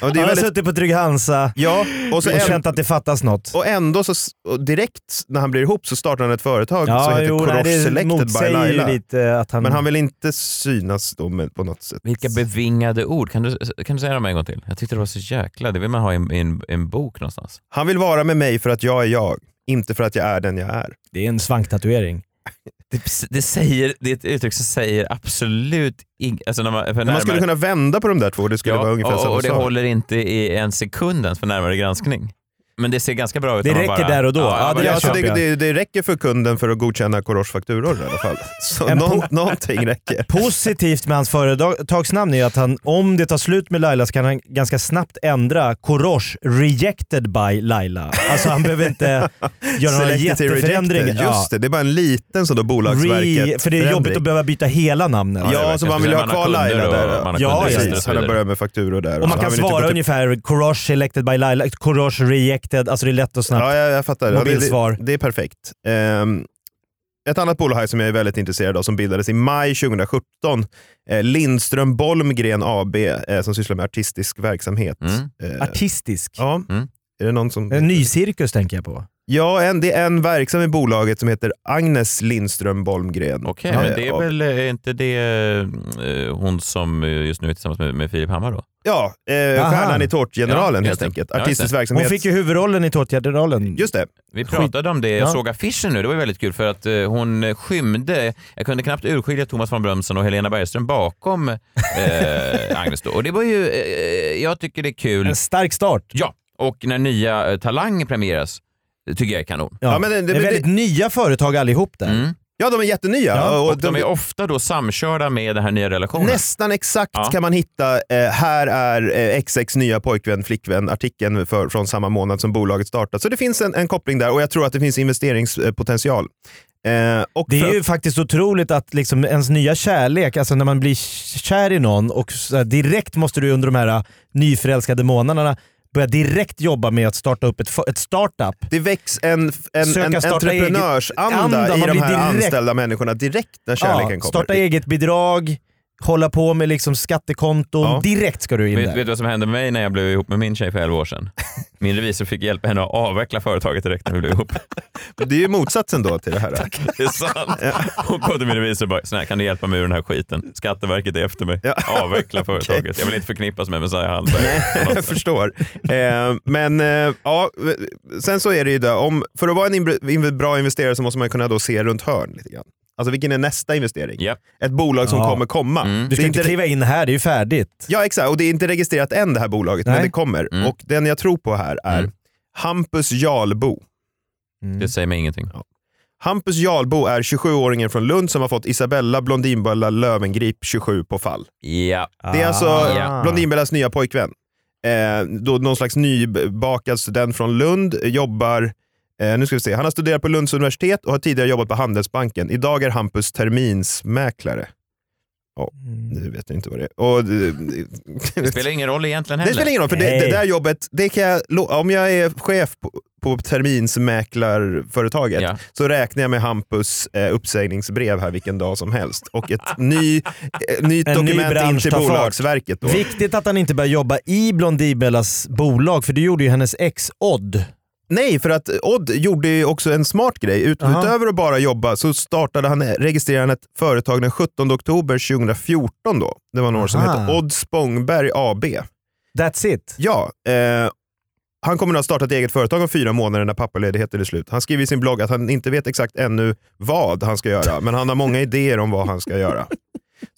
G: Ja, det är
F: Han
E: alltså-
F: har
G: väldigt...
F: suttit på Trygg-Hansa
G: Ja, och, så
F: och
G: en...
F: känt att det fattas något.
G: och ändå så, s- och direkt när han blir ihop så startar han ett företag som heter
F: nej,
G: Korosh Selected by
F: motsäger ju
G: Laila.
F: lite att han...
G: Men han vill inte synas då med, på något sätt.
E: Vilka bevingade ord. Kan du, kan du säga dem en gång till? Jag tyckte det var så jäkla... Det vill man ha i en, i en, i en bok någonstans.
G: Han vill vara med mig för att jag är jag, inte för att jag är den jag är.
F: Det är en svanktatuering.
E: Det, det, säger, det är ett uttryck som säger absolut inget. Alltså när man, för
G: Men man skulle kunna vända på de där två och det skulle
E: ja,
G: vara ungefär
E: och,
G: samma
E: och det
G: sak.
E: håller inte i en sekund ens för närmare granskning. Men det ser ganska bra ut.
F: Det
E: när man
F: räcker
E: bara,
F: där och då. Ja,
E: bara,
G: Ja,
F: det
G: alltså
F: köper
G: det,
F: jag.
G: det, det räcker för kunden för att godkänna Korosh fakturor i alla fall. Så
F: En
G: någon,
F: po-
G: någonting räcker.
F: Positivt med hans företagsnamn är att han, om det tar slut med Laila så kan han ganska snabbt ändra Korosh rejected by Laila. Alltså han behöver inte göra några
G: Selected till
F: jätteförändringar.
G: rejected. Just det, det är bara en liten sån då Bolagsverket.
F: Re, för det är jobbigt att behöva byta hela namnet.
E: Ja, det är
G: Ja, så
E: verkligen.
G: man vill ju ha
E: Man har
G: kvar
E: kunder
G: Laila
E: och-
G: där.
E: man har
F: Ja, kunder i
G: precis.
E: registret och så
G: Han har
E: vidare.
G: börjat med fakturor där.
F: Och man
G: så
F: kan
G: han vill inte
F: svara
G: gå till-
F: ungefär Korosh selected by Laila, Korosh rejected. Alltså det är lätt och snabbt.
G: Ja, jag, jag fattar. Ja, det,
F: Mobilsvar.
G: det, det är perfekt. Ehm, ett annat bolag här som jag är väldigt intresserad av som bildades i maj 2017. Eh, Lindström Bolmgren AB eh, som sysslar med artistisk verksamhet.
E: Mm.
G: Eh,
F: Artistisk.
G: ja.
E: Mm.
G: Är det någon som...
F: En ny cirkus tänker jag på.
G: Ja, en, det är en verksam i bolaget som heter Agnes Lindström Bolmgren.
E: Okej,
G: Eh,
E: men det är
G: och-
E: väl är inte det eh, hon som eh, just nu är tillsammans med, med Filip Hammar då?
G: Ja, eh,
F: Aha.
G: Stjärnan i Tårtgeneralen
E: Ja, just
G: helt
E: det.
G: enkelt.
E: Ja, just
G: Artistisk
F: Hon
G: verksamhet.
F: fick ju huvudrollen i Tårtgeneralen.
G: Just det.
E: Vi pratade om det, jag
F: Ja.
E: såg affischen nu, det var ju väldigt kul för att eh, hon skymde, jag kunde knappt urskilja Thomas von Brömsen och Helena Bergström bakom eh, Agnes då. Och det var ju, eh, jag tycker det är kul.
F: En stark start.
E: Ja, och när nya eh, Talang premieras, det tycker jag är kanon.
F: Ja.
G: Ja, men
F: det,
G: det- det-
F: är väldigt nya företag allihop där.
E: Mm.
G: Ja, de är jättenya.
F: Ja,
E: Och de är ofta då samkörda med den här nya relationen.
G: Nästan exakt
E: Ja.
G: kan man hitta eh, “Här är eh, XX nya pojkvän, flickvän” artikeln för, från samma månad som bolaget startat. Så det finns en, en koppling där och jag tror att det finns investeringspotential. Eh, och
F: Det är
G: för-
F: ju faktiskt otroligt att liksom ens nya kärlek, alltså när man blir kär i någon och så här direkt måste du under de här äh, nyförälskade månaderna börja direkt jobba med att starta upp ett, fo- ett startup.
G: det väcks en, en,
F: Söka
G: en
F: starta eget-
G: entreprenörsanda
F: anda,
G: i
F: man
G: de
F: blir
G: här
F: direkt-
G: anställda människorna direkt när kärleken
F: Ja,
G: kommer.
F: starta eget bidrag, hålla på med liksom skattekonton.
E: Ja.
F: Direkt ska du in
E: Vet,
F: där.
E: vet du vad som hände med mig när jag blev ihop med min tjej för 11 år sedan? Min revisor fick hjälpa henne att avveckla företaget direkt när vi blev ihop.
G: Det är ju motsatsen då till det här.
E: Det är sant. Hon kom till min revisor och bara, snälla kan du hjälpa mig ur den här skiten? Skatteverket är efter mig. Avveckla företaget. Jag vill inte förknippas med Messiah Hallberg.
G: jag förstår. Eh, men eh, ja, sen så är det ju det, om, för att vara en inb- inv- bra investerare så måste man kunna då se runt hörn lite grann. Alltså vilken är nästa investering? Ett bolag som
F: Ja.
G: kommer komma.
F: Du ska inte kliva in här, det är ju färdigt.
G: Ja exakt, och det är inte registrerat än det här bolaget,
F: Nej.
G: men det kommer. Och den jag tror på här är Hampus Jarlbo.
E: Det säger mig ingenting.
G: Hampus Jarlbo är 27-åringen från Lund som har fått Isabella Blondinbella Lövengrip 27 på fall.
E: Ja.
G: Det är alltså
F: Ah.
E: Ah, Ja.
G: Blondinbellas nya pojkvän. Eh, då någon slags nybakad student från Lund jobbar, eh, nu ska vi se, han har studerat på Lunds universitet och har tidigare jobbat på Handelsbanken. Idag är Hampus terminsmäklare. Ja, nu vet jag inte vad det är. Och,
E: Mm.
G: eh,
E: Det spelar ingen roll egentligen heller.
G: det spelar ingen roll, för det, det där jobbet, det kan jag, lo- om jag är chef på, på terminsmäklarföretaget så räknar jag med Hampus eh, uppsägningsbrev här vilken dag som helst och ett ny, eh, nytt
F: En ny
G: dokument in
F: bransch
G: till
F: tar fart.
G: Bolagsverket. Då.
F: Viktigt att han inte börjar jobba i Blondinbellas bolag, för det gjorde ju hennes ex Odd.
G: Nej, för att Odd gjorde ju också en smart grej. Ut,
F: Aha.
G: utöver att bara jobba så startade han, eh, registrerade han ett företag den 17 oktober 2014. Då. Det var några år som
F: Aha.
G: hette Odd Spångberg AB.
F: That's it?
G: Ja. Eh, han kommer att ha startat eget företag om fyra månader när pappaledigheten är slut. Han skriver i sin blogg att han inte vet exakt ännu vad han ska göra, men han har många idéer om vad han ska göra.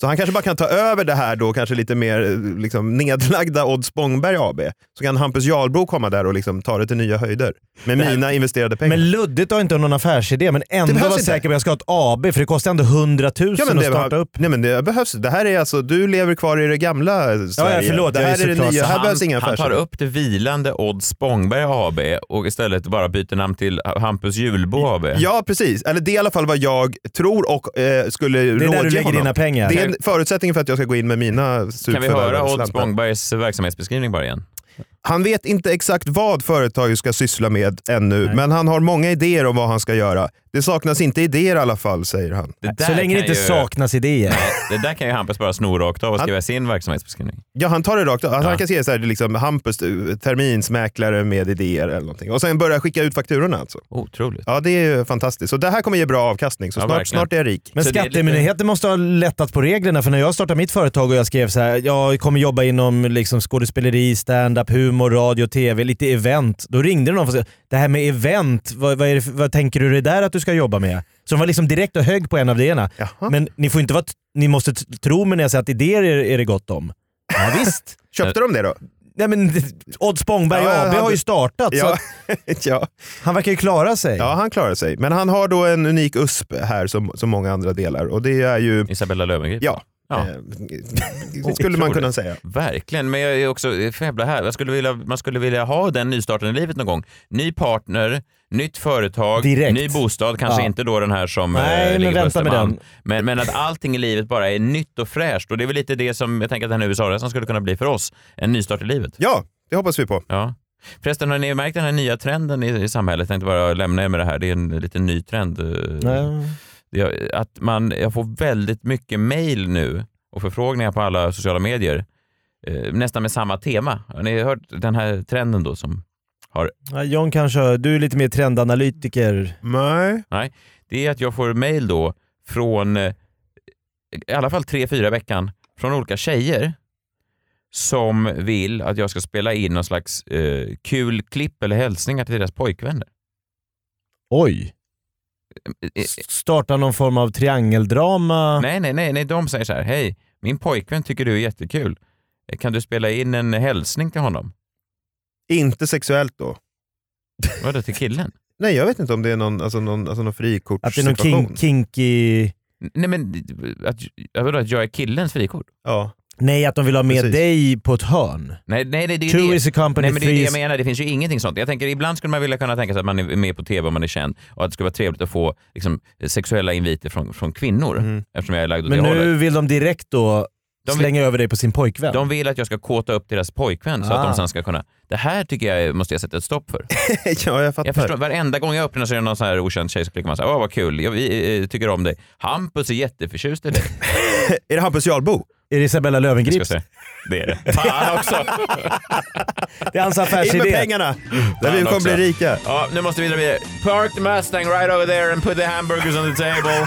G: Så han kanske bara kan ta över det här då, kanske lite mer eh, liksom, nedlagda Odd Spångberg AB. Så kan Hampus Jarlbro komma där och liksom ta det till nya höjder. Med
F: Det här-
G: mina investerade pengar.
F: Men luddigt har inte någon affärsidé, men ändå
G: behövs
F: var
G: inte.
F: säker på att jag ska ha ett AB, för det kostar ändå 100 000
G: Ja, men
F: att
G: det
F: starta
G: behö-
F: upp.
G: Nej men det behövs. Det här är alltså, du lever kvar i det gamla Sverige.
F: förlåt,
G: det
F: jag är
G: här är det
F: såklart-
G: nya. Här
E: han,
G: behövs inga
E: han tar
G: affärsidéer.
E: upp det vilande Odd Spångberg AB och istället bara byter namn till Hampus Julbo AB.
G: Ja, precis. Eller det är i alla fall vad jag tror och eh, skulle rådge
E: där
G: honom.
E: du lägger dina pengar.
G: Det är en förutsättning för att jag ska gå in med mina
E: Kan vi höra
G: surförvärvade
E: Odd
G: slantar.
E: Spångbergs verksamhetsbeskrivning bara igen?
G: Han vet inte exakt vad företaget ska syssla med ännu, men han har många idéer om vad han ska göra. Det saknas inte idéer i alla fall, säger han.
E: där Så länge det kan inte ju-
F: saknas idéer.
E: Det där kan ju Hampus bara sno rakt av och skriva sin verksamhetsbeskrivning.
G: Ja, han tar det rakt av. Alltså, Han kan se så här, det är liksom, Hampus, eh, terminsmäklare med idéer eller någonting. Och sen börjar skicka ut fakturorna alltså.
E: Otroligt.
G: Ja, det är ju fantastiskt. Så det här kommer ge bra avkastning, så
F: Ja,
G: snart,
F: verkligen.
G: snart är jag rik.
F: Men skattemyndigheten måste ha lättat på reglerna, för när jag startade mitt företag och jag skrev så här, jag kommer jobba inom liksom skådespeleri, stand-up, humor, radio, tv, lite event. Då ringde det någon och sa, det här med event, vad, vad, är det, för- vad tänker du det där att du ska jobba med? Så de var liksom direkt och högg på en av idéerna. Men ni, får inte vara t- ni måste t- tro mig när jag säger att idéer är, är det gott om. Ja, visst.
G: Köpte de det då?
F: Nej men Odd Spångberg
G: Ja,
F: AB
G: han-
F: har ju startat. Så
G: Ja.
F: att,
G: ja.
F: Han verkar ju klara sig.
G: Ja, han klarar sig. Men han har då en unik USP här som, som många andra delar. Och det är ju...
E: Isabella Löwengrip.
G: Ja.
E: Ja.
G: Eh, skulle man kunna
E: Otroligt.
G: säga.
E: Verkligen, men jag är också jag får jävla här. Jag skulle vilja, man skulle vilja ha den nystarten i livet någon gång. Ny partner, nytt företag,
F: Direkt.
E: ny bostad, kanske
F: Ja.
E: inte då den här som
F: Nej,
E: eh,
F: men
E: ligger på
F: vänta med
E: Östermalm.
F: den.
E: Men, men att allting i livet bara är nytt och fräscht och det är väl lite det som jag tänker att den här USA-resan skulle kunna bli för oss. En nystart i livet.
G: Ja, det hoppas vi på.
E: Ja. Förresten, har ni märkt den här nya trenden i, i samhället? Jag tänkte bara lämna er med det här, det är en lite ny trend. eh, det är- att man, jag får väldigt mycket mejl nu och förfrågningar på alla sociala medier, eh, nästan med samma tema. Har ni hört den här trenden då som har...
F: Ja, John kanske, du är lite mer trendanalytiker.
G: Nej.
E: Nej, det är att jag får mejl då från eh, i alla fall tre, fyra i veckan från olika tjejer som vill att jag ska spela in någon slags eh, kul klipp eller hälsningar till deras pojkvänner. Eh,
F: Oj. Starta någon form av triangeldrama.
E: Nej, nej, nej, nej, de säger så här. Hej, min pojkvän tycker du är jättekul. Kan du spela in en hälsning till honom?
G: Inte sexuellt då?
E: Vadå, till killen?
G: Nej, jag vet inte om det är någon, alltså någon, alltså någon frikort
F: Att det är någon kink, kinky...
E: Nej, men att, jag vadå, att jag är killens frikort?
G: Ja.
F: Nej, att de vill ha med
E: Precis.
F: dig på ett hörn.
E: Nej, nej, nej, det är
F: Two
E: det.
F: is a company,
E: nej, men det är
F: three
E: det jag
F: is-
E: menar. Det finns ju ingenting sånt. Jag tänker ibland skulle man vilja kunna tänka sig att man är med på tv om man är känd och att det skulle vara trevligt att få liksom, sexuella inviter från, från kvinnor eftersom jag är lagd åt
F: Mm. Men
E: det
F: nu
E: hållet.
F: vill de direkt då
E: De vill-
F: slänga över dig på sin pojkvän.
E: De vill att jag ska kåta upp deras pojkvän så att
F: Ah.
E: de sen ska kunna... Det här tycker jag måste jag sätta ett stopp för.
G: ja, jag fattar.
E: Jag förstår, varenda gång jag öppnar så är det någon sån här okänd tjej som klickar man så här, åh vad kul, jag, vi eh, tycker om dig. Hampus är jätteförtjust i dig.
G: är det Hampus Jarlbo?
F: Är det Isabella Löwengrip?
E: Det är det. Fan också!
F: Det är hans affärsidé.
G: In med pengarna! Där
E: Fan
G: vi kommer bli
E: också.
G: rika.
E: Ja, nu måste vi vidare med Park the Mustang right over there and put the hamburgers on the table.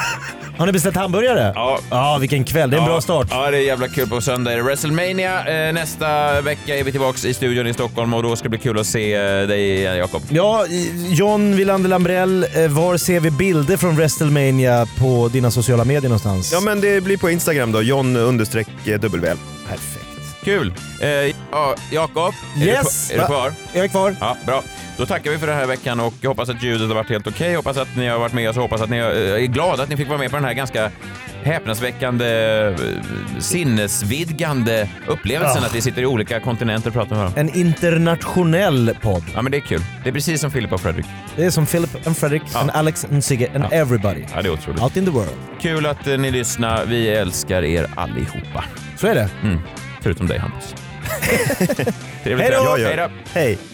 F: Har ni beställt hamburgare?
E: Ja.
F: Ja, vilken kväll. Det är en bra start.
E: Ja, det är jävla kul. På söndag är det WrestleMania. Eh, nästa vecka är vi tillbaka i studion i Stockholm och då ska det bli kul att se eh, dig igen, Jakob.
F: Ja, i- John Wilander Lambrell, eh, var ser vi bilder från WrestleMania på dina sociala medier någonstans?
G: Ja men det blir på Instagram då, John understreck eh, WL.
F: Perfekt.
E: Kul! Eh, ja, Jakob,
F: Yes!
E: är, du, på- är du
F: Va?
E: kvar?
F: Jag är kvar.
E: Ja, bra. Då tackar vi för den här veckan och jag hoppas att ljudet har varit helt okej. Hoppas att ni har varit med oss och hoppas att ni eh, är glada att ni fick vara med på den här ganska häpnadsväckande, eh, sinnesvidgande upplevelsen
F: Ah.
E: att vi sitter i olika kontinenter och pratar med varandra.
F: En internationell podd.
E: Ja, men det är kul. Det är precis som Filip och Fredrik.
F: Det är som Philip and Fredrik, and Alex and Sigge and everybody.
E: Ja, det är otroligt.
F: Out in the world.
E: Kul att eh, ni lyssnar. Vi älskar er allihopa. Mm.
F: Så är det.
E: Förutom dig, Hampus. Trevligt.
G: Hej då!
E: Hej då!
G: Hej!